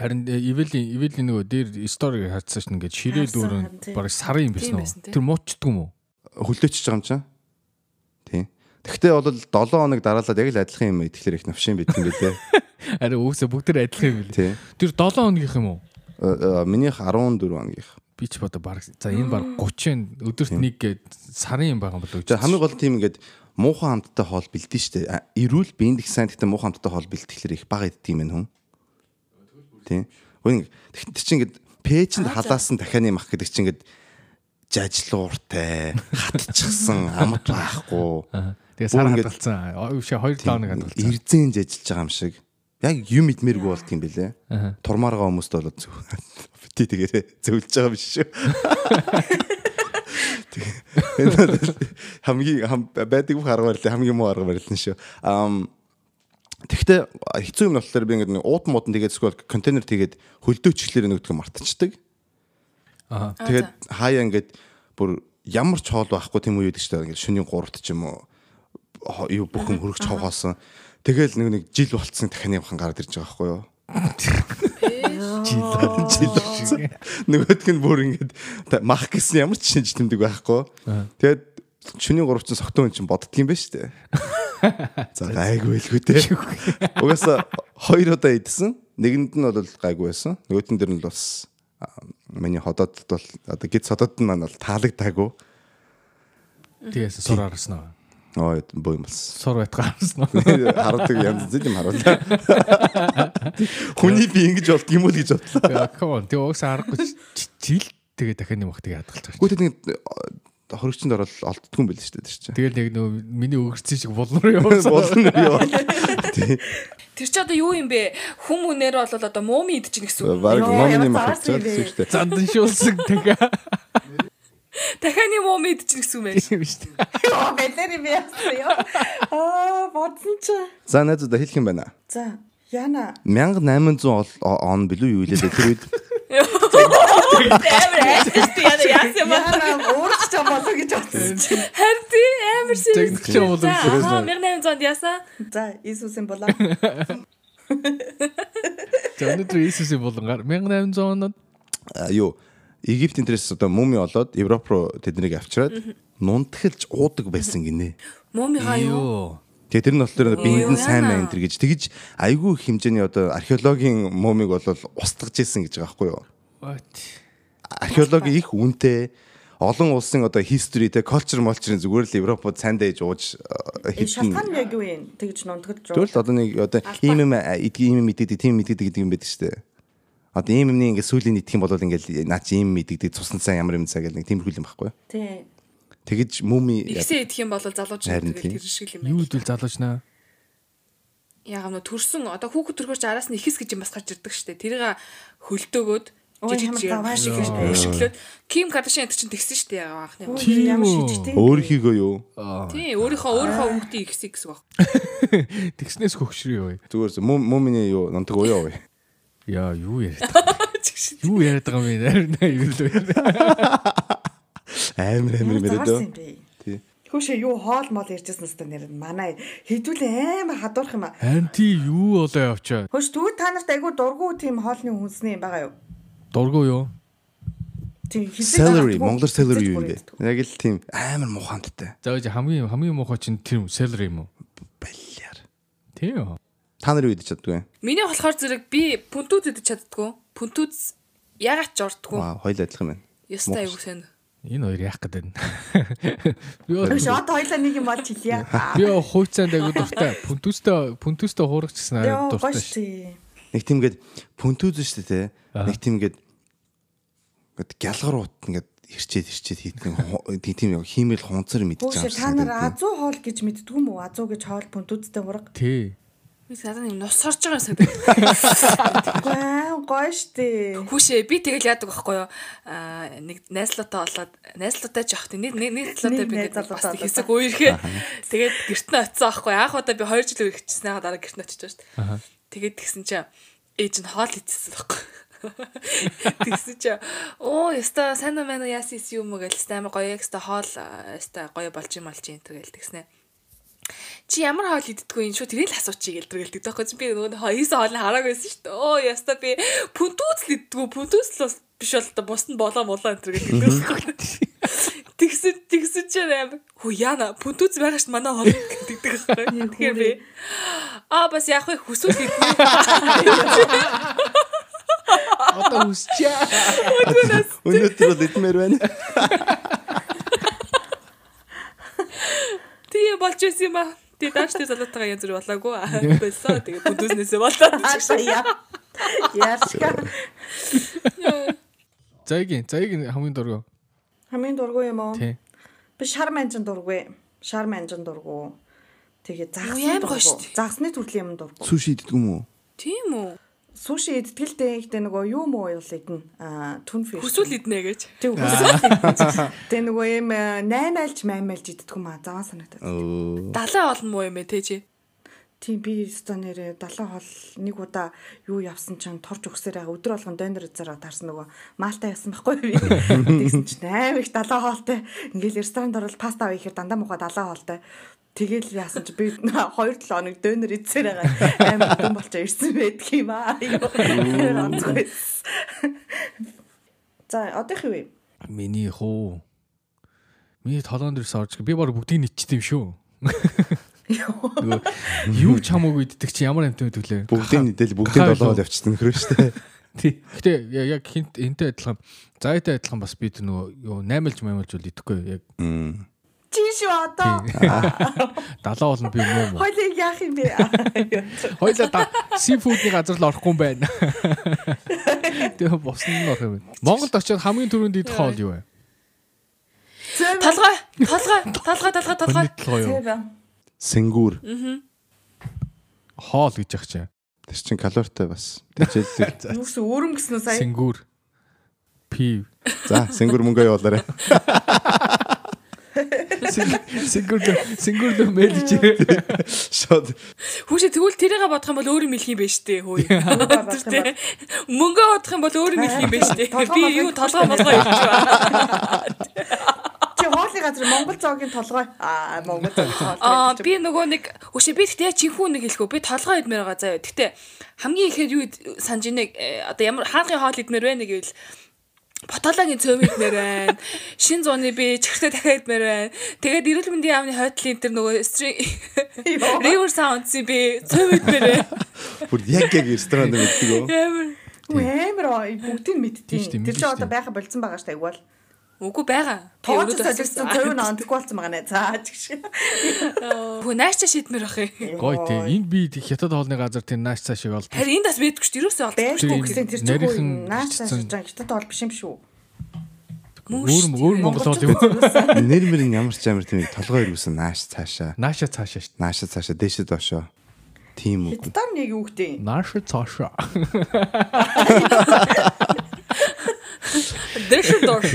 A: Харин э, Ивэлийн Ивэлийн нөгөө дээр стори хатсаа ш нь ингээд ширээ
D: Харсан, харин
A: дүүрэн
D: тий.
A: бараг сарын юм байсан
B: Тийм байсан,
A: уу?
B: тий.
A: Тэр муучдгүй юм уу?
C: Хөлдөөчж байгаа юм чинь. Тий. Тэгтээ бол 7 хоног дараалаад яг л адилхан юм ихлээр их навшин бит юм билээ.
A: Ари өөөсө бүгд тэр адилхан юм билээ.
C: Тий.
A: Тэр 7 хоногийнх юм уу?
C: Э, э, Минийх 14 хоногийнх.
A: Би ч бодо бараг за энэ бараг 30 өдөрт нэг гээд сарын юм байгаа юм болоо.
C: За хамгийн гол нь тийм ингээд муухан хамттай хоол бэлдэн штэ. А, Эрүүл биенд их сайн гэхдээ муухан хамттай хоол бэлтгэхлээр их бага иддэг юм байна хүн. Тийм. Үгүй тэгтээ чи ингээд пэйжэнд халаасан дахианы мах гэдэг чи ингээд
A: [LAUGHS]
C: жажлууртай, хатчихсан, амт байхгүй.
A: Тэгээ сар
C: бүр ингээд-
A: хадгалцсан. Ой биш 2 7 хоног хадгалцсан.
C: Ирзэнж ажиллаж байгаа юм шиг. Яг юм идмэргүй болт юм бэлээ. Турмааргаа хүмүүст бол зөв. Бити тэгээрээ зөвлөж байгаа биш шүү. Тэг- энэ бол Хамгийн хам- байдаг бүх арга барил хамгийн муу арга барил нь шүү. Ам Тэгтээ хэцүү юм нь болохоор би ингээд нэг ууд мууд нь тэгээд эсвэл контейнер тэгээд хөлдөөчлөөр нөгдөг мартчихдаг.
A: Аа.
C: Тэгээд хаяа ингээд бүр ямар ч хоол байхгүй тийм үед гэж ингээд шөнийн 3-т ч юм уу хо- юу бүхэн хөрөгч хавхаасан. Тэгэл нэг нэг жил болцсон дахин явхан гараад ирж байгаа байхгүй юу? Жил болцсон. Нөгөөдг нь бүр ингээд та- мах гэсэн ямар ч шинж тэмдэг байхгүй. Тэгээд шөнийн 3-т ч согтон хүн чинь боддгийм байна [LAUGHS] шүү дээ. За гайгүй байлгүй те. Угаасаа хоёр удаа идсэн. Нэгэнд нь бол гайгүй байсан. Нөгөөтөн дэр нь л бас а, миний ходоод бол одоо гид содод нь маань бол таалагдаагүй.
A: Тэгээс сур харсан аа.
C: Ой боо юм болсон.
A: Сур байтгаа
C: [LAUGHS]
A: харсан аа.
C: Хардаг янз зүйл юм харуулаа. Хүний би ингэж болт юм уу л гэж бодлоо.
A: Яа, Come on. Тэгээ өөөсө харахгүй ч- ч- жил тэгээ дахин юм хтгийг хадгалж байна.
C: Гүйтэй нэг хоригчонд орол олддгүй юм байл шүү дээ тэр чинь.
A: Тэгэл нэг нөгөө миний өгөрцөн шиг булмар [LAUGHS] явсан.
C: Болно би бол.
B: Тэр чи одоо юу юм бэ? Хүм үнээр бол одоо мууми идчихнэ гэсэн үг.
C: Бараг
D: Йоо,
C: номны
D: ямар
C: махацсан
D: заарсан юм бэ?
C: шүү дээ.
A: Зандан шуулсан тэгээ.
B: Дахианы мууми идчихнэ гэсэн юм байна.
A: Тийм шүү дээ.
D: Йоо, бэлэр юм яасан ёо. Аа, бодсон ч.
C: За найзуудаа хэлэх юм байна.
D: За, Яна.
C: 1800 ол- он билүү юу илээ тэр үед
B: Амар айстай яна яасан юм бэ?
D: Яна уурч чам болоо гэж бодсон чи.
B: Харин тий амар шиг.
A: Тэгнэ ч юм уу.
B: Аа 1800 яасан?
D: За, Иесус юм болоо.
A: За өнөөдөр Иесусийн булангаар 1800 онд
C: а, э, юу Египт энэс одоо мумий олоод Европ руу тэднийг авчираад нунтгалж уудаг байсан гинэ.
B: Мууми хаа юу?
A: Юу?
C: Тэгээ тэр нь болохоор биендэн
B: Юу,
C: сайн
B: яана.
C: байна энэ гэж тэгж айгүй их хэмжээний одоо археологийн мумиг бол устгаж исэн гэж байгаа байхгүй юу?
A: What?
C: археологи их үнэтэй олон улсын одоо history те culture multure-ийн зүгээр л Европод сайн дэж ууж э,
D: Энэ шалтгаан
C: хэдэн
D: нь яг юу юм? Тэгж нунтгалж
C: Тэгвэл одоо нэг одоо ийм юм э, идгий ийм юм идэгдэг тийм юм идэгдэг гэдэг юм байдаг шүү дээ. Одоо ийм юмний ингээд сүлийн идэх юм бол ингээл наа чи ийм юм идэгдэг цусны цаа ямар юм цаа гэл нэг тиймэрхүү юм байхгүй.
D: Тий.
C: Тэгэж э, муми
B: Ихсээ идэх юм бол залууч
C: Харин тийм.
B: тэгээд тэр шиг л
A: Юу
B: юм байна.
A: идвэл залуучнаа?
B: Яг нь төрсөн одоо хүүхэд төрөхөж араас нь ихэс гэж юм бас гарч ирдэг шүү дээ. Тэрийг хөлтөөгөөд
D: Ой, ямар даваа шиг
B: гэж
D: юм.
B: хөшиглөөд Ким Кардашиан гэдэг чинь тэгсэн шүү дээ яг анхны.
D: Ой,
A: Тийм
D: ямар
A: үү.
D: шижигтэй.
C: өөрхийгөө юу?
B: Тийм өөрийнхөө өөрийнхөө хүүхдийн ихсээ гэсэн баг.
A: Тэгснээс хөгшрөө юу?
C: Зүгээр мум муминий юу? Нонтог уу юу?
A: Яа, юу яриад байгаа? Юу яриад байгаа юм бэ? Юу л вэ?
C: Амар амар мэрэд үү?
D: Заарсан юм бэ?
C: Тий.
D: Хөөшөө юу хоол мол ярьжсэн өстө нэр нь манай хэдүүлээ амар хадуурх юм аа.
A: Анти юу болоо явчаа?
D: Хөөш түү та нарт айгүй дургу тийм хоолны хүнсний юм байгаа юу?
A: Дургу юу?
D: Тийм хизээ
C: Salary,
D: гаргадгүй,
C: Монгол salary юу
D: хизээж
C: юм
D: бүр
C: бэ?
D: иддэггүй.
C: Яг л тийм амар мухандтай.
A: За үгүй хамгийн хамгийн муухай чинь тэр юм, salary юм уу?
C: Баляр.
A: Тийм үү?
C: Та нар юу идэж чаддгүй?
B: Миний болохоор зэрэг би пүнтүүд идэж чаддгүй. Пүнтүүд ягаад ч ордгүй.
C: Ваа, хоёул адилхан байна.
B: Ёстой айгуу сэн.
A: Энэ хоёр яах гээд байна. [LAUGHS] Би бол-
D: Хөөш одоо хоёлаа нэг юм болж хэлье.
A: би бол хуйцаанд агуу дуртай. Пүнтүстэй пүнтүстэй хуурагчсан аа
D: Яа
A: дуртай.
D: гош
A: ш.
D: тий.
C: Нэг тиймгээд пүнтүүз шүү дээ, те. Нэг тиймгээд гээд гялгар уут ингээд ирчээд ирчээд хийдэг ху- тий- тийм яг хиймэл хунцар
D: Хөөш
C: мэдчихсэн.
D: та нар азуу хоол гэж мэддэг юм уу? Азуу гэж хоол бүнтүүдтэй ураг.
A: Тий.
B: Би надад юм нус орж байгаа юм санагдав.
D: Вау гош тий.
B: Хүүшээ би тэгэл яадаг байхгүй юу? Аа нэг найзлуудаа олоод найзлуудаа жоох тийм нэг нэг найзлуудаа
D: Нэг
B: би ингээд
D: найзлуудаа
B: бас нэг
D: олоод.
B: хэсэг үерхээ. Тэгээд гэрт нь очисан байхгүй юу? Анх удаа би 2 жил үерхчихсэн аа дараа гэрт нь очиж шүү дээ. Тэгээд тэгсэн чинь ээж нь хоол идчихсэн байхгүй юу? Тэгсэн чи оо ёстой сайн уу мэн уу яасан юм уу гэлээ амар гоё экста хоол аа, ёстой гоё болж юм болж энэ төр гэл тэгснэ чи ямар хоол иддэггүй юм шүү тэрийг л асуучий гэлдэр гэлдэг байхгүй чи би нөгөө хоо- хийсэн хоолыг хараагүйсэн шүү дээ оо яста би пүнтүүц л иддэггүй пүнтүүц л бас биш бол та бус нь болоо молоо энэ төр гэлдэг байхгүй тэгсэн тэгсэн чи амар хөө яна пүнтүүц байгаа шүү манай хоол гэдэг байхгүй тэгэхээр би аа бас яах вэ хүсвэл идэх
A: Одоо үсчээ.
C: [LAUGHS] Өнөөдөр л идмээр байна.
B: Тийм болж байсан юм аа. Тэгээ дааш тэр залуутайгаа янз бүр болоогүй аа. Болсон. Тэгээ бүдүүснээсээ болоо.
D: [LAUGHS] Аашаа яа. Яашаа.
A: Зайгийн, зайгийн хамгийн дургу.
D: Хамгийн дургу юм уу?
A: Тий.
D: Би шар манжин дургүй. Шар манжин дургүй. Тэгээ
B: Юу,
D: загсны
B: амар гоё шүү
D: дургүй.
B: дээ.
D: Загсны төрлийн юм дургүй.
C: Суши иддэг юм уу?
B: Тийм үү.
D: Суши идтгэлтэй ихтэй нөгөө юу муу юу л идэн. Аа түн фиш.
B: Хүсвэл иднэ гэж.
D: Тэг хүсэл. Тэг нөгөө юм 8 айлч 8 айлч иддэг юм аа. Заваа санагдаад.
C: Оо.
B: Далаа олон муу юм ээ те чи.
D: Тийм би өстө нэрэ далайн хол нэг удаа юу явсан чинь торж өгсөөр байгаа өдөр болгон донор зэрэг таарсан нөгөө маалтай байсан байхгүй би. Тэгсэн чинь аим их далайн хоолтой ингээл ресторанд орол паста авъя гэхээр дандаа муха далайн хоолтой. Тэгэл яасан чи би 2 7 хоног донор идсээр байгаа аим дүн болчоо ирсэн байдаг юм аа. Юу. онцгой. За одоох юу вэ?
A: Миний хуу. Миний толгонд ирс орж би баг бүгдийг ничтээм шүү. Нөгөө [LAUGHS] Юу ч хамаагүй иддэг чи ямар амт төглөө.
C: Бүгдийн идэл бүгдийн долоо явчихсан нөхрөө штэ.
A: Тий. Гэтэ я- яг хинт энтэй адилхан. Зайтай адилхан бас би тэр нөгөө юу 8-лж 8-лж бол идэхгүй яг
D: Чи шүү одоо.
A: 70 болно би юм уу?
D: Хойлоо яах юм бэ?
A: Хойлоо да сифуудны газар л орохгүй юм [LAUGHS] байна. Тэгээ босн нь орох юм байна. Монголд очиод хамгийн түрүүнд идэх хоол юу вэ?
D: Цэвэр.
B: Толгой, толгой, толгой, толгой, толгой.
A: Хонит толгой юу?
D: Цэвэр.
C: Сэнгүүр.
A: Хоол гэж яах чинь.
C: Тэр чин калоритой бас. Тэжээлдэг.
D: [LAUGHS] Юу гэсэн өөрөм гэсэн үү сая?
A: Сэнгүүр. Пив.
C: За, сэнгүүр мөнгөө явуулаарай.
A: [LAUGHS] Сэнгүүр сэнгүүр л мэлж.
C: Шод.
B: Хүүшээ тэгвэл тэрийгэ бодох юм бол өөр юм хэлэх юм байж тээ хөөе.
D: бодох юм бол.
B: Тэ. Мөнгөө бодох юм бол өөр юм хэлэх юм байж тээ. Би
D: Толгой болгоо
B: юу толгой болгоо явж байна.
D: Чи хоолны газар Монгол цоогийн толгой. Аа Монгол цоогийн толгой.
B: Аа би нөгөө нэг үшээ би гэхдээ чихүү нэг хэлэхгүй би толгой идмээр байгаа заяа. Гэхдээ хамгийн ихээр юу ид- санаж ийнэ э, одоо ямар хаалгын хоол идмээр байна гэвэл Ботологийн цөв идмээр байна. Шин зууны би чихтэй дахиад идмээр байна. Тэгээд эрүүл мэндийн яамны хойдлын тэр нөгөө стрим
D: Йоо.
B: River Sound-ийн би цөв идмээр байна.
C: Бүр яг яг ресторанд мэддэг үү?
B: Амар.
D: Амар ой, бүгдийг мэдтiin.
A: Тийм шүү дээ,
D: Тэр
A: мэднэ
D: чинь
A: шүү
D: одоо
A: дээ.
D: байха болцсон байгаа штэ айгуул.
B: Үгүй байгаа. Би
D: Тоож
B: өрөөд
D: солигдсон
B: авсан.
D: 50 онд болцсон байгаа нэ. За чигш.
B: Хөө наашчаа шийдмээр бах
A: [LAUGHS]
B: юм.
A: Гой тий. Энд би тэг хятад хоолны газар тэр нааш цааш шиг бол.
B: Харин энд бас мэдгүй шүү дээ. Ерөөсөө олдсон.
D: Байхгүй гэсэн тэр чинь
A: нарийнхан
D: нааш цааш
A: бичсэн.
D: жан хятад бол биш юм шүү.
B: Мөн
A: Өөр
B: шүү дээ.
A: өөр Монгол юм.
C: Нэр мөр нь ямар ч амар тийм толгой юусэн нааш цаашаа.
A: Нааша цаашаа шүү.
C: Нааш цаашаа дэше доошоо. Тийм үг.
D: Хятад нэг юу гэдэг юм.
A: Нааша цаашаа. [LAUGHS]
B: Дэш доош.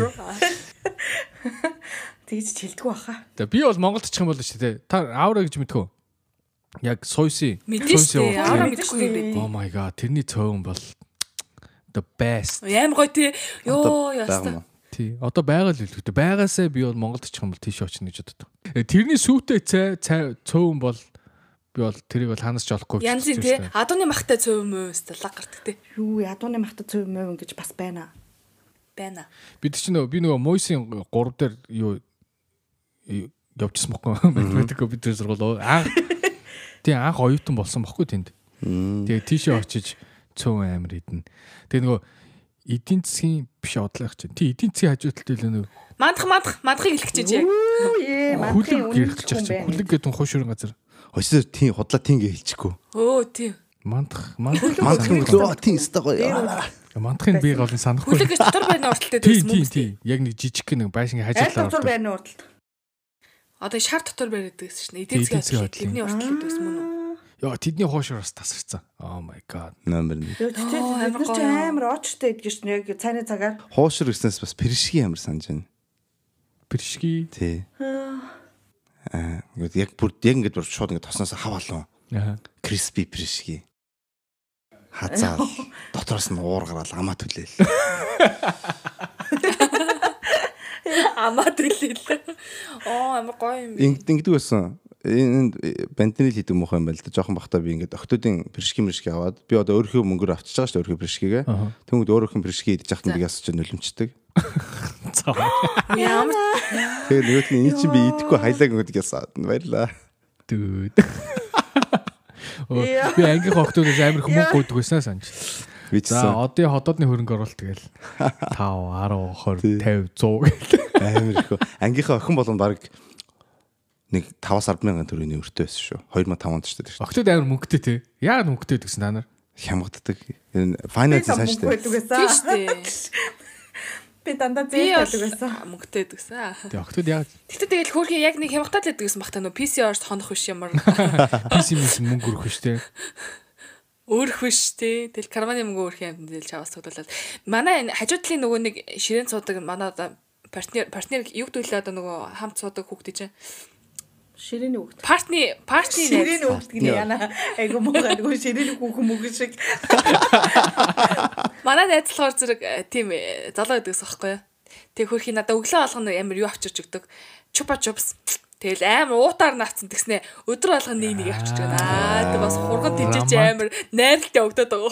D: Тэгж ч хэлдэггүй баха.
A: Тэг би бол монголчхан болоо шүү дээ. Та аура гэж мэдхүү. Яг сойси.
B: Мэдэн шүү дээ. Аваа
D: Аурам.
B: мэдхгүй юм бэ.
A: Oh my god. Тэрний цөөн бол the best.
B: Аим гоё тий. Йоо
C: Бага
B: яста.
C: мó.
A: Тий. Одоо байгаа л үлдээ. Байгаасаа би бол монголчхан бол тийш очих гэж боддог. Э, Тэрний сүйтэй цай цай- цөөн бол би бол тэрийг бол ханасч олохгүй. гэж
B: Янзын
A: бодсон
B: тий.
A: шүү дээ.
B: Адууны махтай цөв юм уу? Сталаг гардаг тий.
D: Юу ядууны махтад цөв юм уу гэж бас байна.
B: Байна.
A: Бид чинь нөгөө- би нөгөө Мойсийн 3 дээр юу юу явчихсан бохгүй математикөө бид тэр сургууль анх тий анх оюутан болсон бохгүй тэнд. Тэгээ тийшээ очиж цөөн амир идэн. Тэгээ нөгөө эдийн засгийн биш одлоох чинь. Тий эдийн засгийн хажуу талд илүү нэг
B: Мандах мандах мандахыг хэлчихэж яг.
D: Юу ээ
A: хүлэг
D: мандхийн үнэлж
A: гэрэлж
D: юм
A: чинь.
D: байна.
A: Хүлэг гэдэг нь хуш өрн газар.
C: Хөөсөө тийм худлаа тийм гэлчихгүй.
B: Өө тий.
A: Мандах мандах санахгүй.
C: Мандхан өглөө тийм өстой гоё.
A: мандахын би гол нь санахгүй.
B: Хүлэг гэж дотор байна урталтай
A: Тий
B: дээс
A: тий
B: мөн.
A: тий яг нэг жижиг гэх нэг байшингийн
D: Айл
A: хажуу
D: дотор
A: талд.
D: байна уу урдалт.
B: Одоо шар дотор бариад гэсэн шнэ.
A: Эдийн
B: Эдийн
A: засгийн
B: засгийн
A: хөдөлгөөн.
B: хөдөлгөөний урталтай дээс мөн үү?
A: Яа тэдний хуш өрс тасарсан. Oh my god.
C: Номер нь.
D: Юу ч тийм
B: Оо,
D: бид
B: амар
D: нар ч
B: гоё.
D: амар очтой гэдгийг шнэ яг цайны цагаар
C: Хуушир гэснээс бас пэршгийн амар санаж байна.
A: Бэршги.
C: Тий. Аа, ингээд яг бүр яг ингээд бүр шууд ингээд тосноос хав алуу.
A: Аа.
C: Криспи пэршги. Хазаал. Дотроос нь уур гараал амаа түлээл.
B: Амаа төлөөлөө. Оо амар гоё юм би.
C: Ингээд ингэдэг байсан. Энд банднерил хийдэг мөх юм байл та. Жохон бахта би ингээд октодын пэршги мэршги аваад би одоо өөрхөө мөнгөөр авчиж байгаа шүү дээ өөрхөө пэршгигээ.
A: Аха.
C: Тэнгүүд өөрхөн пэршги идэж яхад би ясч нөлөмчдөг.
A: Цаа.
B: Ямар
C: Тэгээ нөгөөт нь энэ чинь би идэхгүй хайлаг өгдөг ясаад. Баярлаа.
A: Дүүд. Оо, Би ангийн хохтуудаас амар хүмүүс гүйдэг байснаа санаж.
C: Би
A: За
C: чсэн
A: одын хотоодны хөрөнгө оруулалт гээл 5 10 20 50 100 гээл.
C: амар их. Ангийнхаа охин болон баг нэг 5-10 мянган төгрөгийн өртөө байсан шүү. 2005 онд шүү дээ.
A: Охтууд амар мөнгөтэй те. Яа мөнгөтэй гэсэн та нар.
C: Хямгддаг. Энэ finance
D: сайн
C: сайн
D: шүү
C: шүү дээ.
B: тийм
D: дээ.
B: шүү дээ.
D: Би дандаа
B: Би
D: зээл
B: бол
D: байдаг байсан.
B: мөнгөтэй гэсэн.
A: Тэгээ охтууд яг
B: Тэгтээ тэгэл хөөрхөн яг нэг хямхтаад л гэдэг гэсэн багтаа нөө PCR-т хонох биш ямар
A: пессимист мөнгө өрөх штэ.
B: өөрөх биш тий. Тэгэл карманы мөнгө өөрөх юм тэгэл чаваас туглуулаад. Манай энэ хажуу талын нөгөө нэг ширээн цуудаг манай одоо партнер партнер юг төлөө одоо нөгөө хамт цуудаг хүүхдээ чинь
D: Ширээний үгт.
B: партны партны
D: Ширээний
B: найз.
D: үгт гинэ яна. Айгу муугаадгүй ширээний хүүхэн мөгөн шиг.
B: Манай найзлахаар зэрэг э, тийм э, залуу гэдэгс аахгүй. Тэг хөрхий надаа өглөө болгоно амар юу авчирч өгдөг. Чупа чупс. Тэгэл амар уутаар наацсан тэгснэ өдөр болгоно нэг нэг авчирч байна. Аа тэг бас хурган тижиж
A: Романт.
B: амар найрлтаа өгдөг байгаа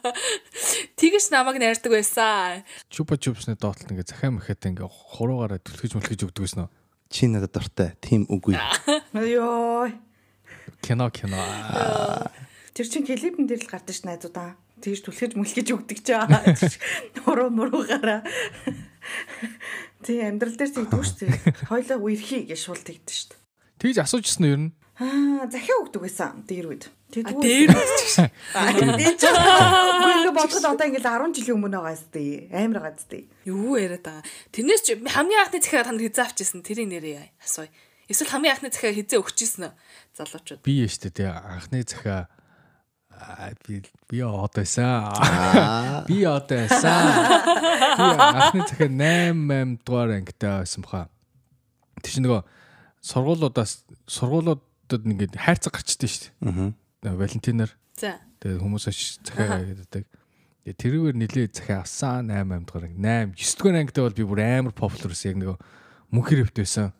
B: байхгүй. Тэгэж намайг найрдаг байсан.
A: Чупа чупсны доотлолт ингээ захаа мэхэт ингээ хуруугаараа түлхэж мүлхэж өгдөг гэсэн.
C: Чи надад дуртай. Тим үгүй.
D: Ёо.
A: Кино кино.
D: Тэр чин клипэн дээр л гардаг ш найзуудаа. Тэгж түлхэж мүлхэж өгдөг ч аа. Нуруу нуруугаараа. Тэг амьдрал дээр тэгдэг ш тэг. Хойлоо үерхий гэж шул тэгдэж ш.
A: Тэгж асуужсэн нь ер нь
D: Аа, захиа өгдөг байсан дээр үед.
B: А
D: Тэгдэг.
B: дээр үтчих.
D: Тэгж. Бүгд бодоход одоо ингээл 10 жилийн өмнө байгаа ш тэг. Амар байгаа ш тэг.
B: Юу яриад байгаа. Тэрнээс ч хамгийн анхны захиа танд хизээ авчихсан тэрийн нэрээ асууя. Эсвэл хамгийн анхны захиа хизээ өгчихсэн үү? залуучууд.
A: би яаш тэ тэ анхны захаа аа, би би од байсан. Би од байсан. Би анхны захаа 8 8 дугаар ангитай байсан баха. Тэг чи нөгөө сургуулиудаас сургуулиудад ингээд хайрцаг гарчдээ шүү дээ. Аа. Валентинаар
B: За.
A: тэгээ хүмүүс очиж захаа гэдэг. Тэгээ тэрүүгээр нилээ захаа авсан 8 8 дугаар анги 8 9 дугаар ангитай бол би бүр амар популярс яг нөгөө мөнх хэрэвт байсан.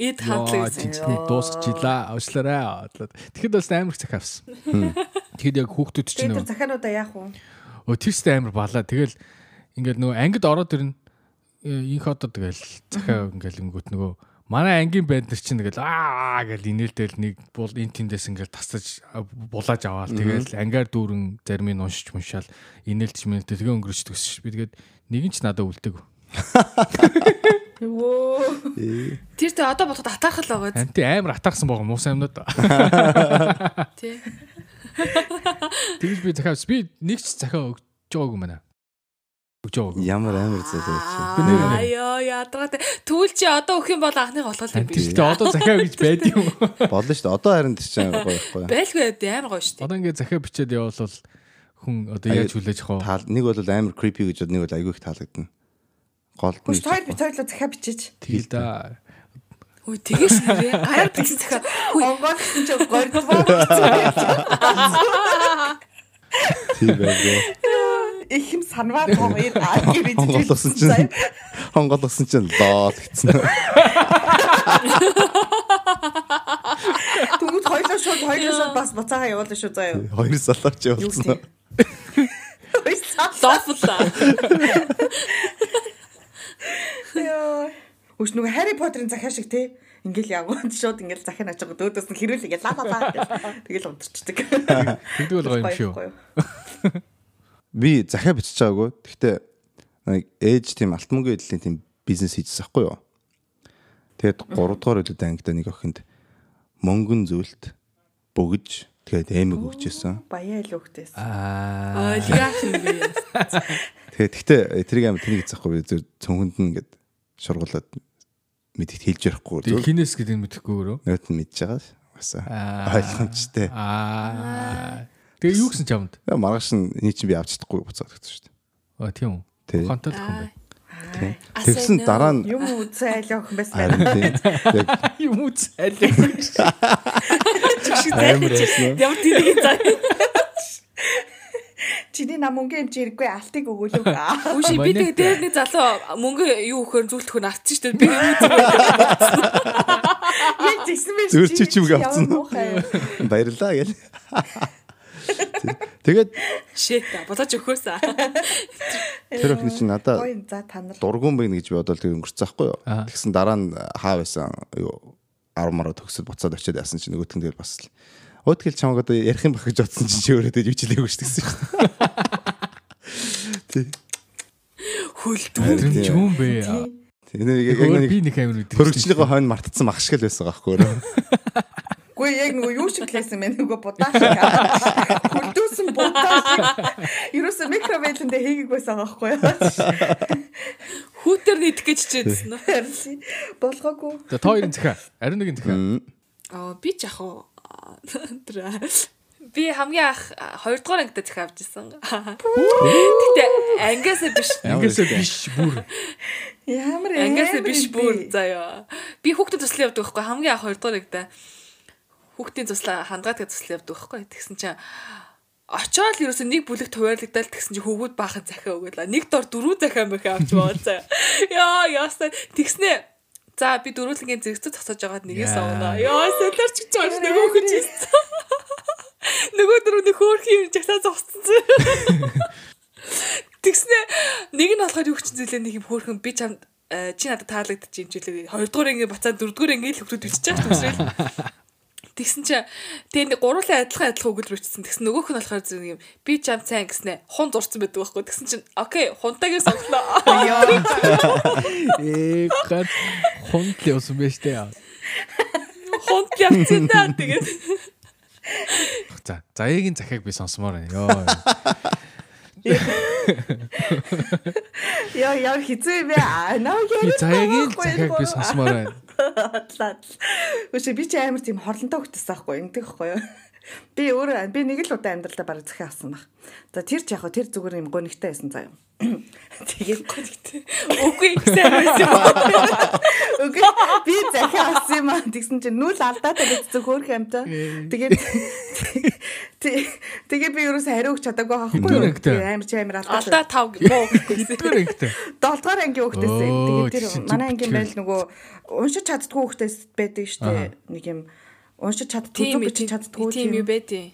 B: Эд
A: Яа,
B: хандлага гэсэн.
A: тэнцний дуусчихлаа. Уучлаарай. Одлоод. Тэгэхэд бас амар их цаг авсан. Тэгэхэд яг хүүхдүүд ч
D: Тэгээд
A: нөө
D: тэр захиануудаа яах вэ?
A: өө тэрстэй амар балаа. Тэгэл ингээд нөө ангид ороод ирнэ. Э, Инх одоо тэгэл захаа ингээл өнгөт нөгөө манай ангийн банд нар чинь тэгэл аа гэл инээлтэл нэг бол эн тэндээс ингээл тасаж а, булааж аваал тэгэл ангаар дүүрэн зарим нь уншиж муншаал инээлтж мэнэлтэл тэгээ өнгөрөж төсш. Би тэгээд нэг нь ч надад үлдэг.
D: Өө.
B: Тэр тэ одоо бодоход атархал байгаа
A: Ханти амар атаахсан байгаа муус амнад.
B: тий.
A: Тэгж би захаа би нэг ч захаа өгч байгаагүй юм байна. Өгч яваа.
C: Ямар амар зүйл вэ чи?
B: Аяа ядаргатай. Түл чи одоо өөх юм бол анхны голол юм биш.
A: Тэгтээ одоо захиа гэж байд юм.
C: Болно шүү дээ. Одоо харин тийч амар гоё байхгүй.
B: Байлгүй байд амар гоё шүү дээ.
A: Одоо ингээ захиа бичээд явбал хүн одоо яаж хүлээж авах вэ?
C: Таал нэг бол амар creepy гэж бод, нэг бол айгүй их таалагдана. Голд
D: Гүш тойл би тойлоо захаа бичиж.
A: Тэгэл да.
B: Үгүй тэгээс нэрээ гаяр гэсэн захаа. Хүй
D: Онгоо гэсэн чи гордваа.
C: тийм байгаад.
D: [LAUGHS] Их юм санваа том ир аа гэж
C: Хонгол усан чинь Хонгол усан чинь лол гэсэн.
D: Түгүүд хоёлоо шууд хоёлоо шууд бас буцаага явуулаа шүү заа
C: [LAUGHS]
D: юу.
C: [LAUGHS] Хоёр салаач
D: Юу
C: явуулсан.
D: гэсэн. Ой цаа.
B: лофла.
D: Үш нөгөө Harry Potter-ын захаа шиг те. Ингээл явгонд шууд ингээл захын очиж дөөдөөс нь хэрүүлээ ла ла ла гэж. Тэгэл унтарчдаг.
A: Тэгдэг бол гоё юм шүү.
D: Гоё, гоё.
C: Би захаа бичиж байгаагүй. Гэхдээ нэг ээж тийм алтмөнгө эдлийн тийм бизнес хийжсэн байхгүй юу? Тэгэд 3 дугаар үлээд ангид нэг охинд мөнгөн зүйлт бөгж тэгээд эмэг өгчээсэн.
D: Баяа л хөхтэйс.
B: Олигарх юм би.
C: Тэгээд гэхдээ тэрийг амар тэнийг захгүй би зөв цөнхөнд нь ингээд шургуулад мэдээд хэлж ярихгүй
A: Тэг
C: зөв
A: хинээс гэдэг нь мэдэхгүй өөрөө.
C: нөт нь мэдж байгаа ш. Бас ойлгомжтой.
A: Аа. Тэгээ юу гэсэн чамд?
C: Яа, Маргааш нь нэг чинь би авч чадахгүй буцаад гэсэн шүү
A: А тийм үү.
C: Тий.
A: Ухаантай л хүн бай.
C: дээ.
B: Асуу
C: Тэгсэн
B: нөө.
C: дараа нь
D: Юм уу цай л охин байсан.
C: харин тийм. Яг
A: Юм уу цайлаа.
C: амар байсан.
B: Ямар тийг заа.
D: Чиний нам өнгийн юм чи хэрэггүй алтыг өгөөлөө. Аа.
B: Үгүй би тэгээ дээр нэг залуу мөнгө юу өгөхөр зүйлтэх хүн авчихсан шүү дээ. Би юу зү-
D: Яг зэсэн биш.
C: Зүгээр чи чимэг авцсан.
D: Яваа муухай.
C: Баярлаа гэл. Тэгээд
B: shit та бодож өгөхөөсөө.
C: тэр охин чинь надаа
D: Гоё за та нар.
C: дургуун байна гэж би бодоод тэг өнгөрцөн байхгүй юу.
A: Аа.
C: Тэгсэн дараа нь хаа байсан юу 10 мараа төгсөд буцаад очиад яасан чинь нөгөөтгөн тэгэл бас л Өтгөл чамаг одоо ярих юм бах гэж бодсон чинь чи өөрөө тэгж үжилээгүй шүү дээ.
B: Хөлдөө.
A: Тэрч юм бэ.
C: Тэгээ яг
A: Өөр
C: нэг
A: би нэг амир үү.
C: Төрөгчнийхөө хойно мартцсан мах шиг л байсан гахгүй юу?
D: Гүй яг нөгөө юу шиг лээсэн мэн нөгөө будаа шиг. Хүлдүүсэн будаа шиг. Юусе микровэлэндээ хийгээг байсан аахгүй юу?
B: Хүүтэр нидэх гэж чижсэн нь.
D: Болгоогүй.
A: За та хоёрын захаа. Ариун нэгэн захаа.
B: Аа би ч яг уу. аа, тэр, аа, Би хамгийн анх 2 дугаар ангид захаа авч ирсэн. Гэтэ ангиасаа биш.
A: Ингээсээ биш бүр.
D: Ямар
B: Ангиас
D: амар
B: биш
D: юм
B: бүр
D: бэ?
B: заяа. Би хүүхдэд туслах явдаг байхгүй хамгийн анх 2 дугаар эгдэ. Хүүхдийн туслаа хандгаад туслах явдаг байхгүй. Тэгсэн чинь очоод л ерөөсөө нэг бүлэг туваарлагдал тэгсэн чинь хөвгүүд баахан захиа өгөөлаа. Нэг дор дөрөв захиа мөхөө авч байгаа
D: [LAUGHS]
B: заяа. Яа яасаа тэгснэ. За би дөрүүлгийн зэрэгцээ цоцож байгаад нэгээс
A: Яа.
B: авна. Яа солиорч гэж оч нөгөө хүн чинь. Нөгөө дөрөвний хөөрхи юм жагсаа зогссон зэ. Тэгснэ нэг нь болохоор юу ч зүйлээ нэг юм хөөрхөн би чам э, чи надад таалагдчих юм жилээ. Хоёрдугаар ингээ бацаа дөрөвдүгээр ингээ л хөвгөд бичиж байгаа төсөөл. Тэгсэн чи тэгээ нэг гурлаа адилхан адилхан өгүүлбэр бичсэн. Тэгсэн нөгөөх нь болохоор зүг юм би чам сайн гэснэ. Хун зурцсан байдаг байхгүй. Тэгсэн чинь окей хунтагийн сонглоо.
A: Ээ гад хунт л явсан байж тээ.
B: Хунт явцсан даа тэгээд.
A: За заягийн захааг би сонсомоор байна. Йоо.
D: Яа яа хизээ бэ? Аа наа яа.
A: Би заягийн захааг би сонсомоор байна.
D: Үгүй би ч амар тийм хорлонтой хөлтсөн байхгүй ингэдэг байхгүй юу? Би өөр би нэг л удаа амьдралдаа бараг захиа авсан баг. За тэр ч яг хөө тэр зүгээр юм гонигтай байсан заяа. Тэгээд
B: Үгүй сайн байсан.
D: Үгүй би захиа авсан юм аа тэгсэн чинь нүүл алдаад байсан хөөх амтай. Тэгээд тэг- тэгээд би ерөөсөө хариу өгч чадаагүй байхгүй
A: Хэдүүр
D: юу?
A: ангитай?
D: Тэгээд Амар чи амар алдаа.
B: Алдаа тав муу гэсэн.
A: Хэдгээр ихтэй.
D: 7 дугаар ангийн хүүхдээс.
A: Оо,
D: Тэгээд
A: чи
D: тэр
A: зүг
D: манай ангийн
A: битгий.
D: байл нөгөө уншиж чаддгүй хүүхдээс байдаг шүү дээ. Нэг юм уншиж чаддгүй зүг бичиж чаддгүй
B: тийм юу бэ тий.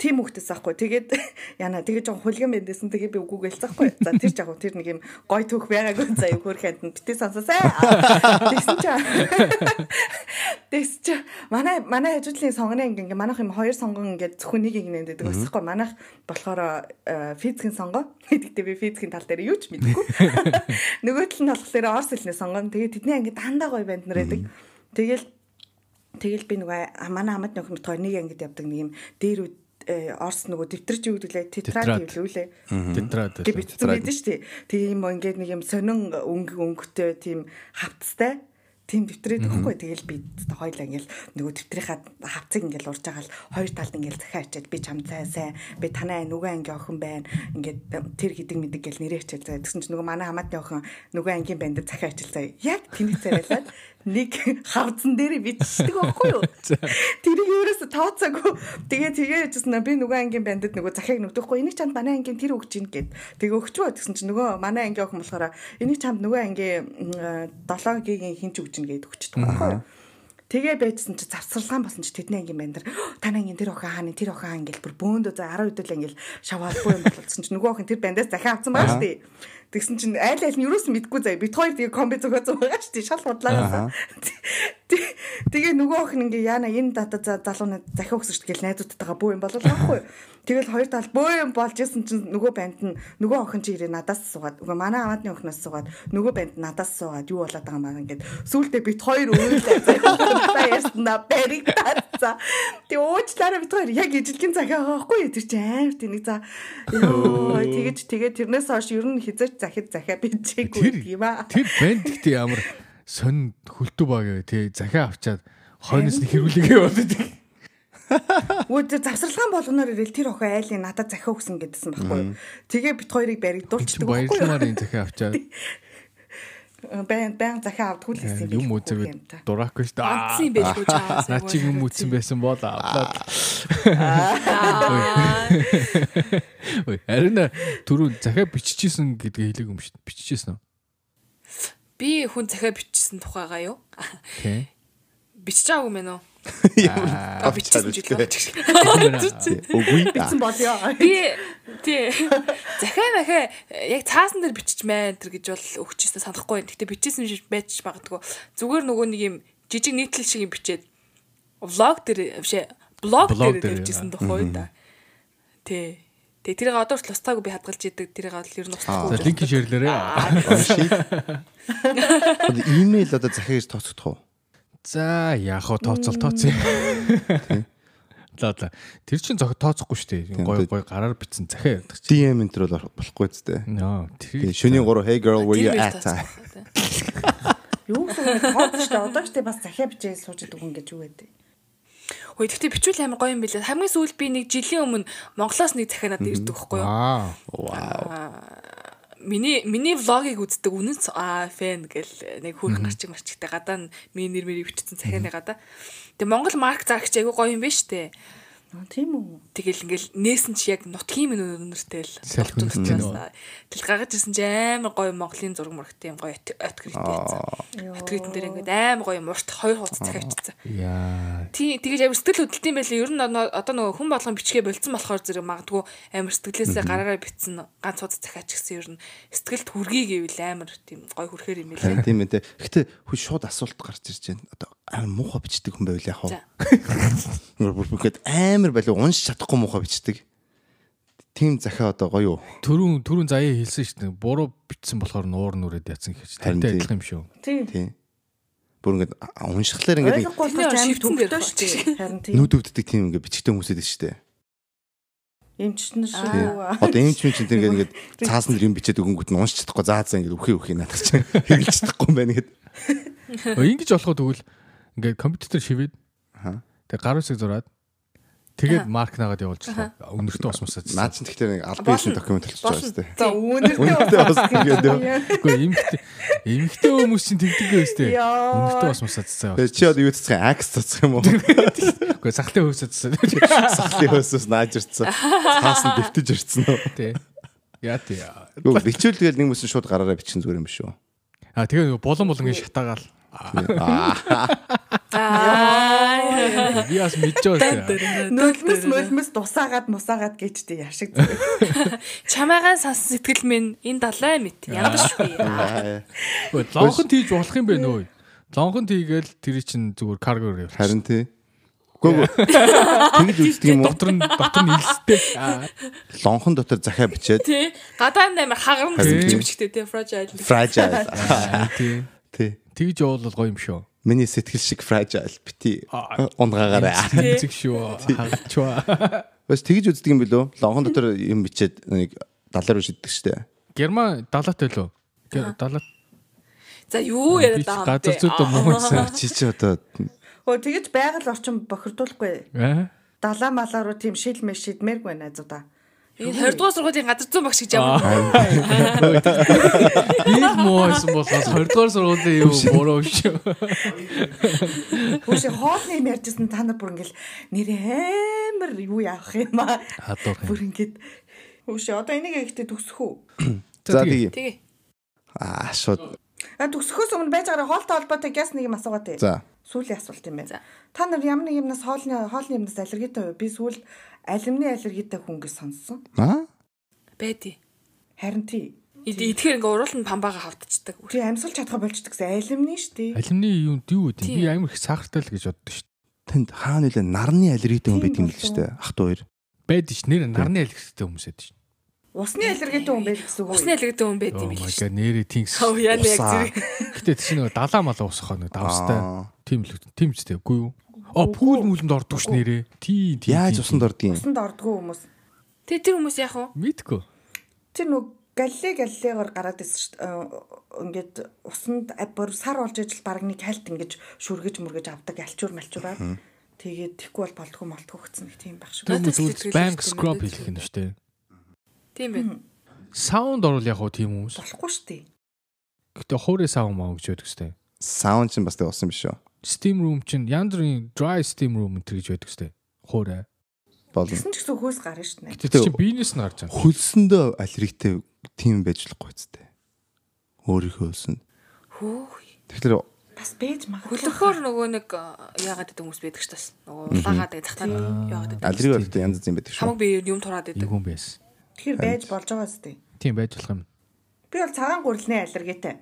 D: тийм хөхтэйс аахгүй. Тэгээд [LAUGHS] яна тэгээд жоохон хулган байдэсэн. Тэгээд би үгүй гэлцэхгүй. За тэр ч яг уу, тэр нэг юм гой төөх байгаагүй. За юу хөрх ханд битээ сонсоосай. Аа, Тэгсэн чи [LAUGHS] Тэгсэн чи манай манай хажуудлын сонгоны анги ингээ манайх юм хоёр сонгон ингээ зөвхөн нэг ингэ нэмдэг өсөхгүй. Манайх болохоор э, физикийн [LAUGHS] сонгоо. Тэгэхдээ би физикийн тал дээр юу ч мэдэхгүй. Нөгөө тал нь болохоор орс хэлний сонгон. Тэгээд тэдний анги дандаа гой банд нар байдаг. Тэгэл Тэгэл би нөгөө а- манай хамт нөхөд хоёр нэг ангид явдаг нэг юм дээр үд э, Орс нөгөө дэвтэрч юу гэдэг лээ?
A: Тетрад.
D: Тетрад гэвэл үлээ.
A: Тетрад.
D: Тэг бичсэн байдаг шүү дээ. Тэг ийм ингээд нэг юм сонин өнгө өнгөтэй тийм хавцтай тийм дэвтрээд өгөхгүй. Тэгэл би хоёлаа ингээл нөгөө дэвтрийнхаа хавцыг ингээл урж байгаа л хоёр талд ингээл захиа ачаад би чам цай сайн би танай нөгөө анги охин байна. Ингээд тэр гэдэг мэдэг гэл нэрээ хичээл заяа. Тэгсэн чинь нөгөө манай хамаатны охин нөгөө ангийн байна дээр захиа ачаал заяа. Яг тэнэг царайлаад нэг хавцан дээр бичдэг байхгүй юу? Тэрийг өөрөөсө тооцоогүй. Тэгээ тэгээ яжсэн би нөгөө ангийн бандад нөгөө захиаг нүдэхгүй. Энийг чанд манай ангийн тэр өгч ийн гэд. Тэгээ өгчмөө гэсэн чинь нөгөө манай ангийн охин болохоор энийг чанд нөгөө ангийн 7-гийн хинч өгч ийн гэд өгчдөг байхгүй юу? Тэгээ байжсан чи завсралгаан болсон чи тэдний ангийн банд нар танай ангийн тэр охин хааны тэр охин хаан ингээл бүр бөөндөө за 10 үдэл ингээл шаваалгүй юм болцсон чи нөгөө охин тэр бандаас захиа авсан байгаа шүү дээ. Тэгсэн чинь айл айл нь юу ч мэдгүй заяа бит хоёр тэгээ комби зөгөөцөн байгаа шүү дээ шал худлаагаасаа. Тэ- Тэгээ нөгөө охин ингээ яана энэ дата за- залуу надад захиа өгсөн шүү дээ гэл найзуудтайгаа бөө юм болол байхгүй. юу? Тэгэл хоёр тал бөө юм болж исэн чинь нөгөө банд нь нөгөө охин чи ирээ надаас суугаад нөгөө манай аваадны охиноос суугаад нөгөө банд надаас суугаад юу болоод байгаа юм аа ингээд сүултээ бит хоёр өөрөлдөө заяа ярьсна бариг татса. Тэг уучлаарай бит хоёр яг ижилхэн захиа байгаа байхгүй юу? тэр чи аим тэнийг за ёо тэгэж тэгээ тэрнээс хойш ер нь хизээч захид захиа
A: Тэр
D: бичээгүй юм аа.
A: тэр банд гэдэг ямар сонь хөлтөө баг гэв те захиа авчаад хойноос нь хэрүүлэгээ болоод
D: Өө тэр завсралгаан болгоноор ирэл тэр охин айлын надад захиа өгсөн гэдсэн байхгүй юу. Тэгээ бит хоёрыг баригдуулчихдаг байхгүй юу.
A: баярламаар энэ захиа авчаад
D: Баян баян захиа авдаггүй л гэсэн
A: юм үзэгээ дураагүй шүү дээ. Аа,
B: Онцсон юм биш үү чаас.
A: Наа чи юм үзсэн байсан бол авлаад. Ой, харин э, түрүү захиа биччихсэн гэдгийг хэлээг юм шүү дээ. Биччихсэн үү?
B: Би хүн захиа бичсэн тухайгаа юу?
A: Тий.
B: Бичиж байгаагүй мэн үү?
C: Аа,
B: бичсэн ч
C: бичсэн.
B: гэдэг.
C: Үгүй.
D: Битсэн болё.
B: Би тий. Захиа нахаа яг цаасан дээр бичиж мэн тэр гэж бол өгчээсээ санахгүй байна. Гэтэ бичсэн шиг байж магадгүй. Зүгээр нөгөө нэг юм жижиг нийтлэл шиг юм бичээд влог дээр бишээ блог
A: Блог
B: дээр
A: дээр,
B: бичсэн тухай да. Тий. Тэ тэрийг одоо ч тусцаагүй би хадгалж идэг тэрийг бол ер нь
A: За
B: тусцаагүй.
A: линк ширлээрээ.
C: Унший. Одоо имэйл одоо захиа гэж тооцогдох уу?
A: За яах вэ тооцол тооцъё. За за. Тэр чинь зөв тооцохгүй шүү дээ. Гой
C: Тий.
A: гой гараар битсэн захиа ярьдаг чинь.
C: DM энтер бол болохгүй ч тээ.
A: Ноо тэр
C: Тэгээ шөнийн 3 hey girl where you
B: Тэр биш
C: at?
B: тооцохгүй, тий.
D: Юу гэсэн тооцож та одоо ч тий бас захиа бичээ суужид өгөн гэж юу гэдэг.
B: Хөөе тэгтээ бичвэл амар гоё юм билээ. Хамгийн сүүл би нэг жилийн өмнө Монголоос нэг захиа надад ирдэг байхгүй юу?
A: аа
B: Миний миний влогийг үздэг үнэн ц- аа фэн гэл нэг хүүхэн гарчиг марчигтай гадаа нь миний нэр мэрийг бичсэн захианы гадаа. Тэгээ Монгол марк зарагч айгүй гоё юм биш үү?
D: Аа тийм үү.
B: Тэгэл ингээл нээсэн чи яг нутгийн минь өнөртэй л
A: Салхи
B: болцсон
A: үнэртэй
B: учраас,
A: нөө.
B: аа, Тэгэл гаргаж ирсэн чи амар гоё Монголын зураг мөрөгтэй юм гоё открит байсан. Откритэн дээр ингээд амар гоё мурт хоёр хуудас захиа бичсэн.
A: яа
B: Тий, тэгэж амир сэтгэл хөдлөлтийн байлаа. Ер нь оно- одоо нөгөө хүн болгон бичгээ болцсон болохоор зэрэг магадгүй амир сэтгэлээсээ гараараа битсэн ганц удаа захиач гэсэн ер нь сэтгэлд хүргий гэвэл амир тийм гой хүрхээр юм
C: Харин
B: билээ.
C: тийм ээ. тэ. Гэхдээ хөө шууд асуулт гарч ирж байна. Одоо амар муухай бичдэг хүн байв л яах вэ?
B: За.
C: Гур бүр бүгд амар байл унш чадахгүй муухай бичдэг. Тим захиа одоо гоё юу?
A: түрүүн түрүүн заяа хэлсэн шүү дээ. Буруу битсэн болохоор нуур нүрээд ятсан гэж.
C: Харин
A: Тэрнтэй
C: тий.
A: адилхан юм шүү.
D: Тийм.
C: Тий. Бүр ингээд а- уншихлаар ингээд
D: Ойлгохгүй
B: Тэний
D: бол
B: оршин
D: аим
B: шивцэн дээр
D: төвтэй шүү
B: тооцчих.
D: дээ. Харин тийм.
C: нүд өвддөг тийм ингээд бичдэг хүмүүсэд шүү дээ.
D: Эмчтэн шүү.
C: Тий. Одоо эмч мэн чинь тэр ингээд ингээд цаасан дээр юм бичээд өгөнгөт нь унш чадахгүй заа заа ингээд үхээ үхээ надад чинь [LAUGHS] хэрэгжилж чадахгүй юм байна гэд.
A: Оо, Ингэж болоход тэгвэл ингээд компьютер шивээд
C: Аха.
A: тэг гар үсэг зураад тэгээд марк наагаад явуулчихлаа. Өнөртөө бас мусаад.
C: Наад чинь тэгэхээр нэг албан ёсны документ болчихж байгаа шүү дээ.
D: За үүнэртэй
C: Үнэтэй бас тэгээд.
A: Гэхдээ эмхтэй эмхтэй хүмүүс чинь тэгдэг юм шүү дээ.
D: Яа.
A: Өнөртөө бас мусаад цацаа.
C: Тэгээ чи одоо юу цэцгэн акс цэцэх юм уу?
A: Гэхдээ сахтай хөөсөө цацаа.
C: Сахлын хөөсөөс нааж ирцэн. Цаасан дэвтэж ирцэн үү?
A: Тий. Яа тий. яа.
C: Юу бичвэл тэгэл нэг мэсэн шууд гараараа бичин зүгээр юм биш үү?
A: А тэгээ болон болон ингэ шатаагаал. Би бас мэдчихв.
D: нөлмөс мөлмөс дусаагаад мусаагаад гэжтэй яшиг зэрэг.
B: Чамаагаан санс сэтгэл минь энэ далай мэт яадаг шүү.
C: Аа,
A: Лонхон тийж болох юм бэ нөө. Лонхон тийгээл тэр чинь зүгээр карго явуулчих.
C: Харин тий. Гүү. Тэгж үздэг юм уу?
A: Дотор нь дотор нь илстэй. Аа.
C: Лонхон дотор захаа бичээд
B: Тий. Гадаа нь амар хагарна
C: Харин
B: гэсэн
C: тийм.
B: чимчтэй тий fragile.
C: fragile.
A: Тий.
C: Тий.
A: Тэгж явуул гоё юм шүү.
C: Миний сэтгэл шиг fragile бити
A: Аа.
C: унгаагаарай.
A: Эцэг шүү. Хагчваа.
C: Бас тэгж үздэг юм билүү? Лонхон дотор юм бичээд нэг далаар шиддэг штэ.
A: Герман далаатай лөө. Далаа
B: За юу яриад байгаа
A: газар зүйд
B: юм бэ?
A: муу юмсан.
C: Чи чи одоо
D: Хөө тэгэж байгаль орчин бохирдуулахгүй.
A: Аа.
D: Далаа малаа руу тийм шил мэл шидмээргүй найзуудаа.
B: Энэ 20 дугаар сургуулийн газар зүүн багш гэж яваа.
A: Би л муу юмсан болохоос 20 дугаар сургуулийн юу буруу шүү.
D: Үгүй хоолны юм ярьжсэн та нар бүр ингээл нэр амар юу явах юм аа.
A: Хадуур юм.
D: Бүр ингээд Үгүй одоо энийг ихтэй төгсөх үү?
C: За тэгье.
B: Тэгээ.
C: Аа шууд.
D: А төгсөхөөс өмнө байж байгаа хоолтой холбоотой гяс нэг юм асуугаа тий.
C: За.
D: Сүүлийн асуулт юм байна.
B: За.
D: Та нар ямар нэг юмнаас хоолны хоолны юмнаас аллергитэй юу? Би сүүл алимны аллергитэй хүн гэж сонссон.
C: Аа?
B: Бэди.
D: Харин тий.
B: Идэхээр ингээ уруулна памбага хавдчихдаг.
D: Тий амьсгалж чадах болчтой гэсэн алимны шүү дээ.
A: Алимны юу юу гэдэг
B: Тийм.
A: би амар их сахартай л гэж боддоо шүү.
C: Тэнд хаа нүлээ нарны аллергитэй хүн
D: Тийм
C: байт юм л
D: болов.
C: штэ. Ахт хоёр.
A: Байд ш нэр нарны алекстэй хүмүүс эд ш.
D: Усны аллергитэй хүн байл гэсэн үг. үү?
B: Усны алгадсан хүн байд
A: Oh
B: юм
A: my
B: биш.
A: god нэрээ тингс.
B: Хав яа нэг
C: Усаа.
B: зэрэг.
A: Гэтэ тийш нэг далаа мал усах нэг давстай.
C: Аа.
A: Тийм л үү? тийм ч тэггүй юу? А пүүл мүлэнд ордог ш нэрээ. Тий тий.
C: Яаж
A: тий,
C: усанд ордгийн?
D: усанд ордгоо хүмүүс.
B: Тэ тэр хүмүүс яах вэ?
A: тий. Мэдгүй.
D: Тэр нүг галле галлегаар гараад ирсэн шүү дээ. Э, Ингээд усанд а- бор сар болж ижил баг нэг хальт ингэж шүргэж мөргэж авдаг альчуур мальчуураар. Тэгээд тэггүй бол болтгүй молтгүй гэсэн нэг тийм байх шүү.
A: Тэр
B: Надад
A: хүмүүс
B: ч
A: зүгээр
B: сэтгэл
A: банк
B: хэлж
A: scrub
B: байна.
A: хийх юм штэ.
B: Тийм байна.
A: Саунд орвол яг хуу тийм хүмүүс.
D: Болохгүй шүү дээ.
A: Гэтэ хуурай саунд маа гэж байдаг штэ.
C: Саунд чинь бас тэг усан биш үү?
A: Steam room чинь янз бүрийн dry steam room энэ гэж байдаг штэ. Хуурай.
C: Болно.
D: Тэгсэн ч гэсэн хөөс гарна шүү дээ.
A: Гэтэ чи бизнес нь гарч байгаа.
C: Хөлсөндөө аллергитэй тийм байж болохгүй ч тээ. Өөрийнхөө хөлсөнд.
B: Хөөх.
C: Тэгэхээр
D: Бас бэж магадгүй.
B: Хөлөхөр нөгөө нэг аа, яагаад гэдэг хүмүүс байдаг ш бас. Нөгөө улаагаад гэдэг захтаа яагаад гэдэг.
C: аллерги болтой янз бүрийн байдаг шүү.
B: Хамаг би юм тураад
A: Нэг
B: байдаг.
A: юм байсан.
D: Тэгэхээр байж болж байгаа шүү дээ.
A: Тийм байж болох юм.
D: Би бол цагаан гурилны аллергитэй.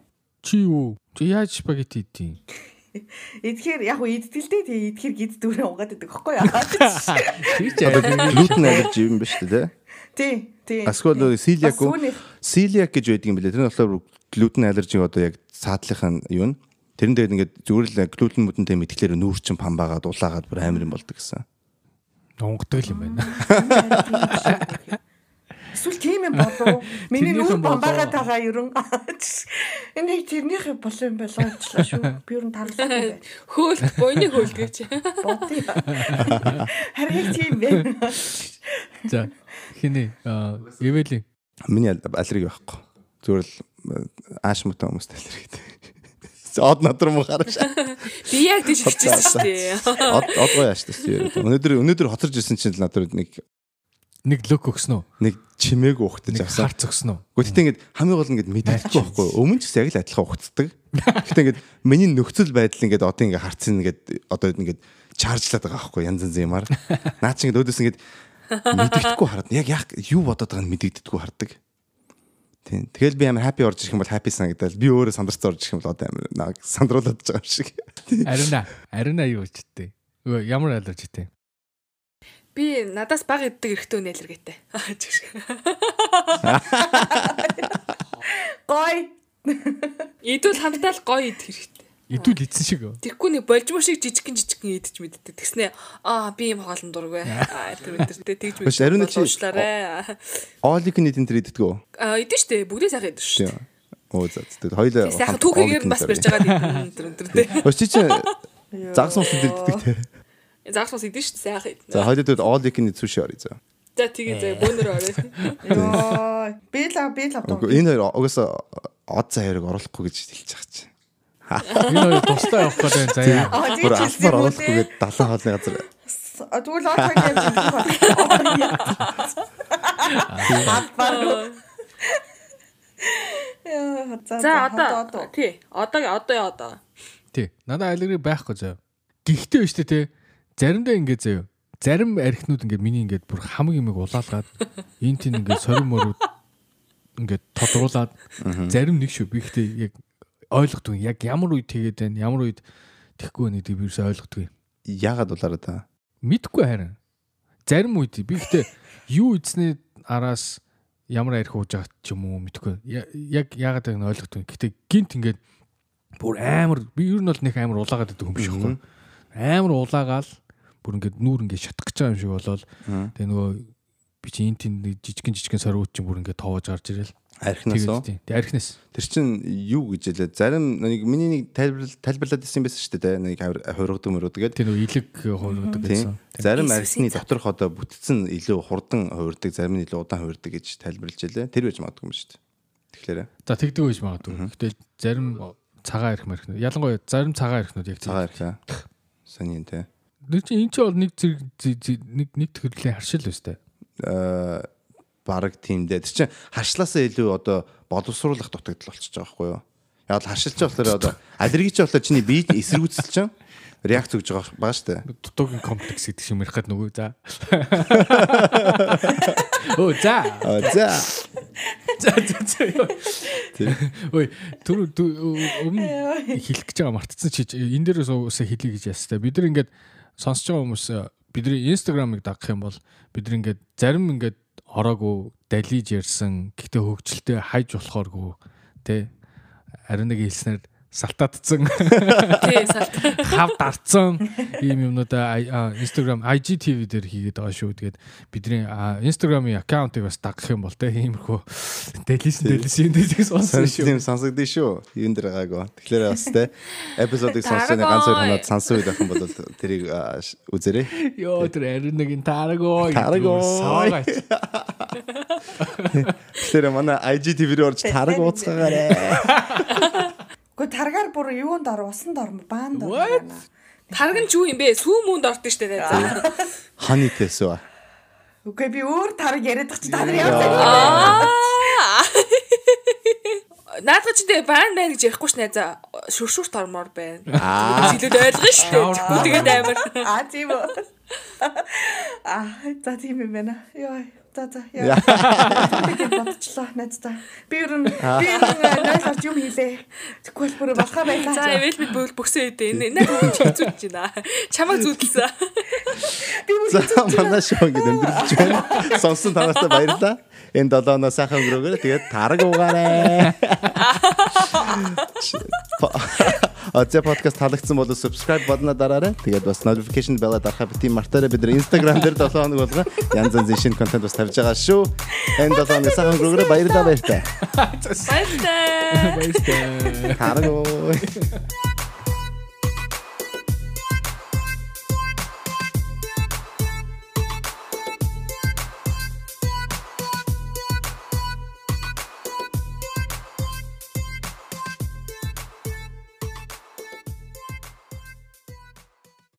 A: Чи юу? Чи яаж спагети идэв?
D: Эдгээр яг уу идтгэлтэй тий эдгээр гид дүүрээ угаад байдаг аахгүй яа.
A: Чи
C: Глютен аллержи юм биш үү те?
D: Тий, тий.
C: Эсвэл силиак уу?
D: Бас үүнийх.
C: Силиак гэж байдаг юм билээ. Тэр нь болохоор глютен аллержи одоо яг саадлынхын юу нь. Тэрэн дээр ингээд зүгээр л глютен мөдөнтэй мэдгэлээр нүүрчин пам байгаад улаагаад бүр амар юм болдог гэсэн.
A: онготой юм байна. [LAUGHS]
D: Эсвэл тийм юм болов. Миний
A: Тэрнийх
D: нүүр
A: юм болов.
D: бамбагаа тагаа ерөн. Энийг тэрнийх юм болов юм болов уучлаа шүү. Би ерөн тарлахгүй бай.
B: Хөөлт, буйны хөөлт
C: [LAUGHS]
B: гэж.
D: Бодъё. Харин тийм бэ.
A: За хинэ аа, эвэл
C: Миний ал- аллерги байхгүй. Зүгээр л э, ааш мөтө хүмүүст аллергитэй. Од надруу муу хараач.
B: Би яг тийш хичээсэн шүү дээ.
C: Од од гоё яаш тийм. Өнөөдөр өнөөдөр хоцорж ирсэн чинь л надад нэг
A: нэг лөк өгсөн үү?
C: нэг чимээг ухтаж
A: Нэг
C: авсан.
A: харц өгсөн үү?
C: Гэхдээ ингээд хамгийн гол нь ингээд мэдэхгүй байхгүй. Өмнө ч гэсэн яг л адилхан ухцдаг. Гэхдээ ингээд миний нөхцөл байдал ингээд одоо ингээд харцын ингээд одоо ингээд чаржлаад байгаа байхгүй янз янз юмар. Наа чи ингээд өөдөөс ингээд мэддэхгүй хараад яг яг юу бодоод байгааг нь мэддэхгүй хардаг. Тийм. Тэгэл би амар хаппи орж ирэх юм бол хаппи санагдал. Би өөрөө сандарч орж ирэх юм бол одоо амар наа сандруулаад байгаа юм шиг.
A: Ариуна. Ариуна юу ч гэдэг. Өө, Ямар аллерж гэдэг.
B: Би надаас баг иддэг эрэхтэн үнэ [LAUGHS] илэргээтэй.
D: Гой.
B: Идүүл хамтдаа л гоё идэх хэрэгтэй.
A: Идүүл идсэн шиг. үү?
B: Тэгэхгүй нэг больжмор шиг жижигхэн жижигхэн идэж мэддэг. Тэгснэ аа би юм хоолн
C: [LAUGHS]
B: дургүй. Аа тэр өдөртэй тэгж
C: Биш, ариун нэг чи-
B: Уушлаарэ.
C: All you can eat энэ төр иддэг үү?
B: Аа идэн штэ бүгдээ сайхан идэж штэ.
C: Тийм. Оо за. Тэгээд хоёлаа.
B: Сайхан түүхээр бас барьж байгаа өдөр өдөртэй.
C: Өчигч загсан ус иддэг тийм.
B: Загас ус идэн штэ сайхан
C: За
B: идэнэ.
C: хоёлаа тэгвэл all you can eat sushi орё за.
B: За тэгээ заа бөөнөр орой.
D: Йоо. Бэлав бэлав дуу.
C: Үгүй, Энэ хоёр угаасаа од зай хоёрыг оруулахгүй гэж хэлж байгаа чи.
A: Энэ хоёр тустай явах гэдэг юм заяа.
C: Бүр
D: Аа тийм ч
C: албаар
D: юм уу.
C: оруулахгүй гэдэг далайн хоолны газар.
D: Тэгвэл очих юм байна. Албаар. Яа,
B: За одоо тий одоо одоо яа одоо.
A: Тий. Надад аллерги байхгүй заяа. Гэхдээ биш үү те. Заримдаа ингэ заяа. Зарим архинууд ингэ миний ингэ бүр хамаг юмыг улаалгаад энэ тийм ингэ сорим морууд ингэ тодруулаад зарим нэг шүү. Би ихтэй яг ойлгохгүй яг ямар үед тэгээд байна, ямар үед тэхгүй байна гэдгийг би ерөөсөй ойлгохгүй.
C: Яагаад улаараа та?
A: Мэдхгүй харин. Зарим үед би ихтэй юу ийдсний араас ямар арх ууж байгаа ч юм уу мэдхгүй. Я- Яг яагаад гэвэл ойлгохгүй. Гэхдээ гинт ингэ бүр амар би ер нь бол нэг амар улаагаад байдаг юм биш үү? Амар улаагаал бүр ингээд нүүр ингээд шатах гэж байгаа юм шиг болоод тэгээ нөгөө би чи энэ тийм нэг жижигэн жижигэн сорвууд чинь бүр ингээд тоож гарч ирэл.
C: Архинаас уу?
A: тийм. Тэгээ архинаас.
C: Тэр чин юу гэж хэлээ? Зарим нэг миний нэг тайлбарлал- тайлбарлаад ирсэн байсан шүү дээ. тэ, Нэг хавир- хувиргадаг мөрөд гэдэг.
A: Тэр нөгөө илэг хуурдаг гэсэн.
C: Тийм. Зарим
B: Иесусийн
C: арсны
B: цаг.
C: доторх одоо бүтцэн илүү хурдан хувирдаг, зарим нь илүү удаан хувирдаг гэж тайлбарлаж илээ. Тэр байж магадгүй юм шүү дээ. Тэгэхээр
A: За тэгдэг байж магадгүй. Гэтэл зарим цагаан арх мархнууд ялангуяа зарим цагаан архнууд яг тийм.
C: цагаан архиа. Саний энэ те.
A: Нэг чинь энэ чинь бол нэг зэрэг зэ- зэ- нэг нэг төрлийн харшил өстэй.
C: Аа баг тиймдээ. Тэр чин харшлаасаа илүү одоо боловсруулах дутагдал болчихж байгаа байхгүй юу? Яг л харшилч болохоор одоо аллергич болохоор чиний бие эсэргүүцэлж чинь реакц өгж байгаа баа шүү дээ.
A: Дутуугийн комплекс гэдэг шиг мэрхэд нөгөө [LAUGHS] за. Оо за.
C: А, За.
A: За за за. ёо. Ой, түр түр- өмнө хэлэх гэж байгаа мартцсан чи энэ дээрээс уусаа хэлье гэж ястаа. Бид нар ингээд сонсож байгаа хүмүүс э, бидний инстаграмыг дагах юм бол бид нар ингээд зарим ингээд ороогүй далиж ярьсан гэхдээ хөвгчлөлтэй хайж болохооргүй тий харин нэг хэлснээр салтаатцсан
B: Тий, салт.
A: хав дарцсан ийм юмнуудаа ай- а, Instagram IGTV дээр хийгээд байгаа шүү. Тэгээд бидний а, Instagram-ийн аккаунтыг бас дагах юм бол те иймэрхүү дэлсэн дэлсэн дэлсэн сонсон
C: Сонс тийм
A: шүү.
C: сонсогдё шүү. Юун дээр гаагүй. Тэгэхээр бас те эпизодыг сонсож байгаа ганц хоёр ханаад сонсох үед байх юм бол тэрийг аа, ш- үзээрэй.
A: Йоо тэр арийн нэг тааргоо.
C: Тааргоо. Тэгэхээр манай IGTV рүү орж тараг ууцгаагаарэ.
D: Гэхдээ таргаар бүр юунд ор усанд ор баанд ор.
A: What?
D: байна.
B: Тарган ч юу юм бэ? Сүү муунд орд нь штэ тэ. За.
C: Хани тесва.
D: Үгүй би өөр тараг яриад байгаа чи та нар яваа.
B: Наадах ч тэ баан байна гэж ярихгүй ш найзаа. Шүршүрт ормоор байна. Чилүүд ойлгоно штэ. Тэггүй тэгээд амар.
D: Аа тийм үү. [LAUGHS] Аа за тийм юм байна. Йой. За за
C: Яа.
D: яа. Тэгээд бодчлаа найздаа. Би ер нь би ер нь найзаарч юм хийлээ. Тэгвэл бүр балхаа байлаа.
B: За, ивэл бид бүгд бөхсөн үедээ энэ энэ бүгд хэцүүж байна. Чамаг зүтэлсэн.
D: би
C: За
D: бүр
C: манай шоу ингэ өндөрлж байна. Сонсон танартаа баярлалаа. Энэ долооноо сайхан өнгөрөөгөө. Тэгээд тараг уугаарэ. Атя подкаст таалагдсан бол subscribe бадна дараарай. Тэгээд бас notification bell-а дарахаа битгий мартаарай. Бид нар Instagram дээр 7 хоног болгоо янз янзын шинэ контент бас тавьж байгаа шүү. Энэ долооноо сайхан өнгөрөөгөө. Баярлалаа баяртай.
B: Баярлалаа.
A: Баяртай.
C: Тараг уу.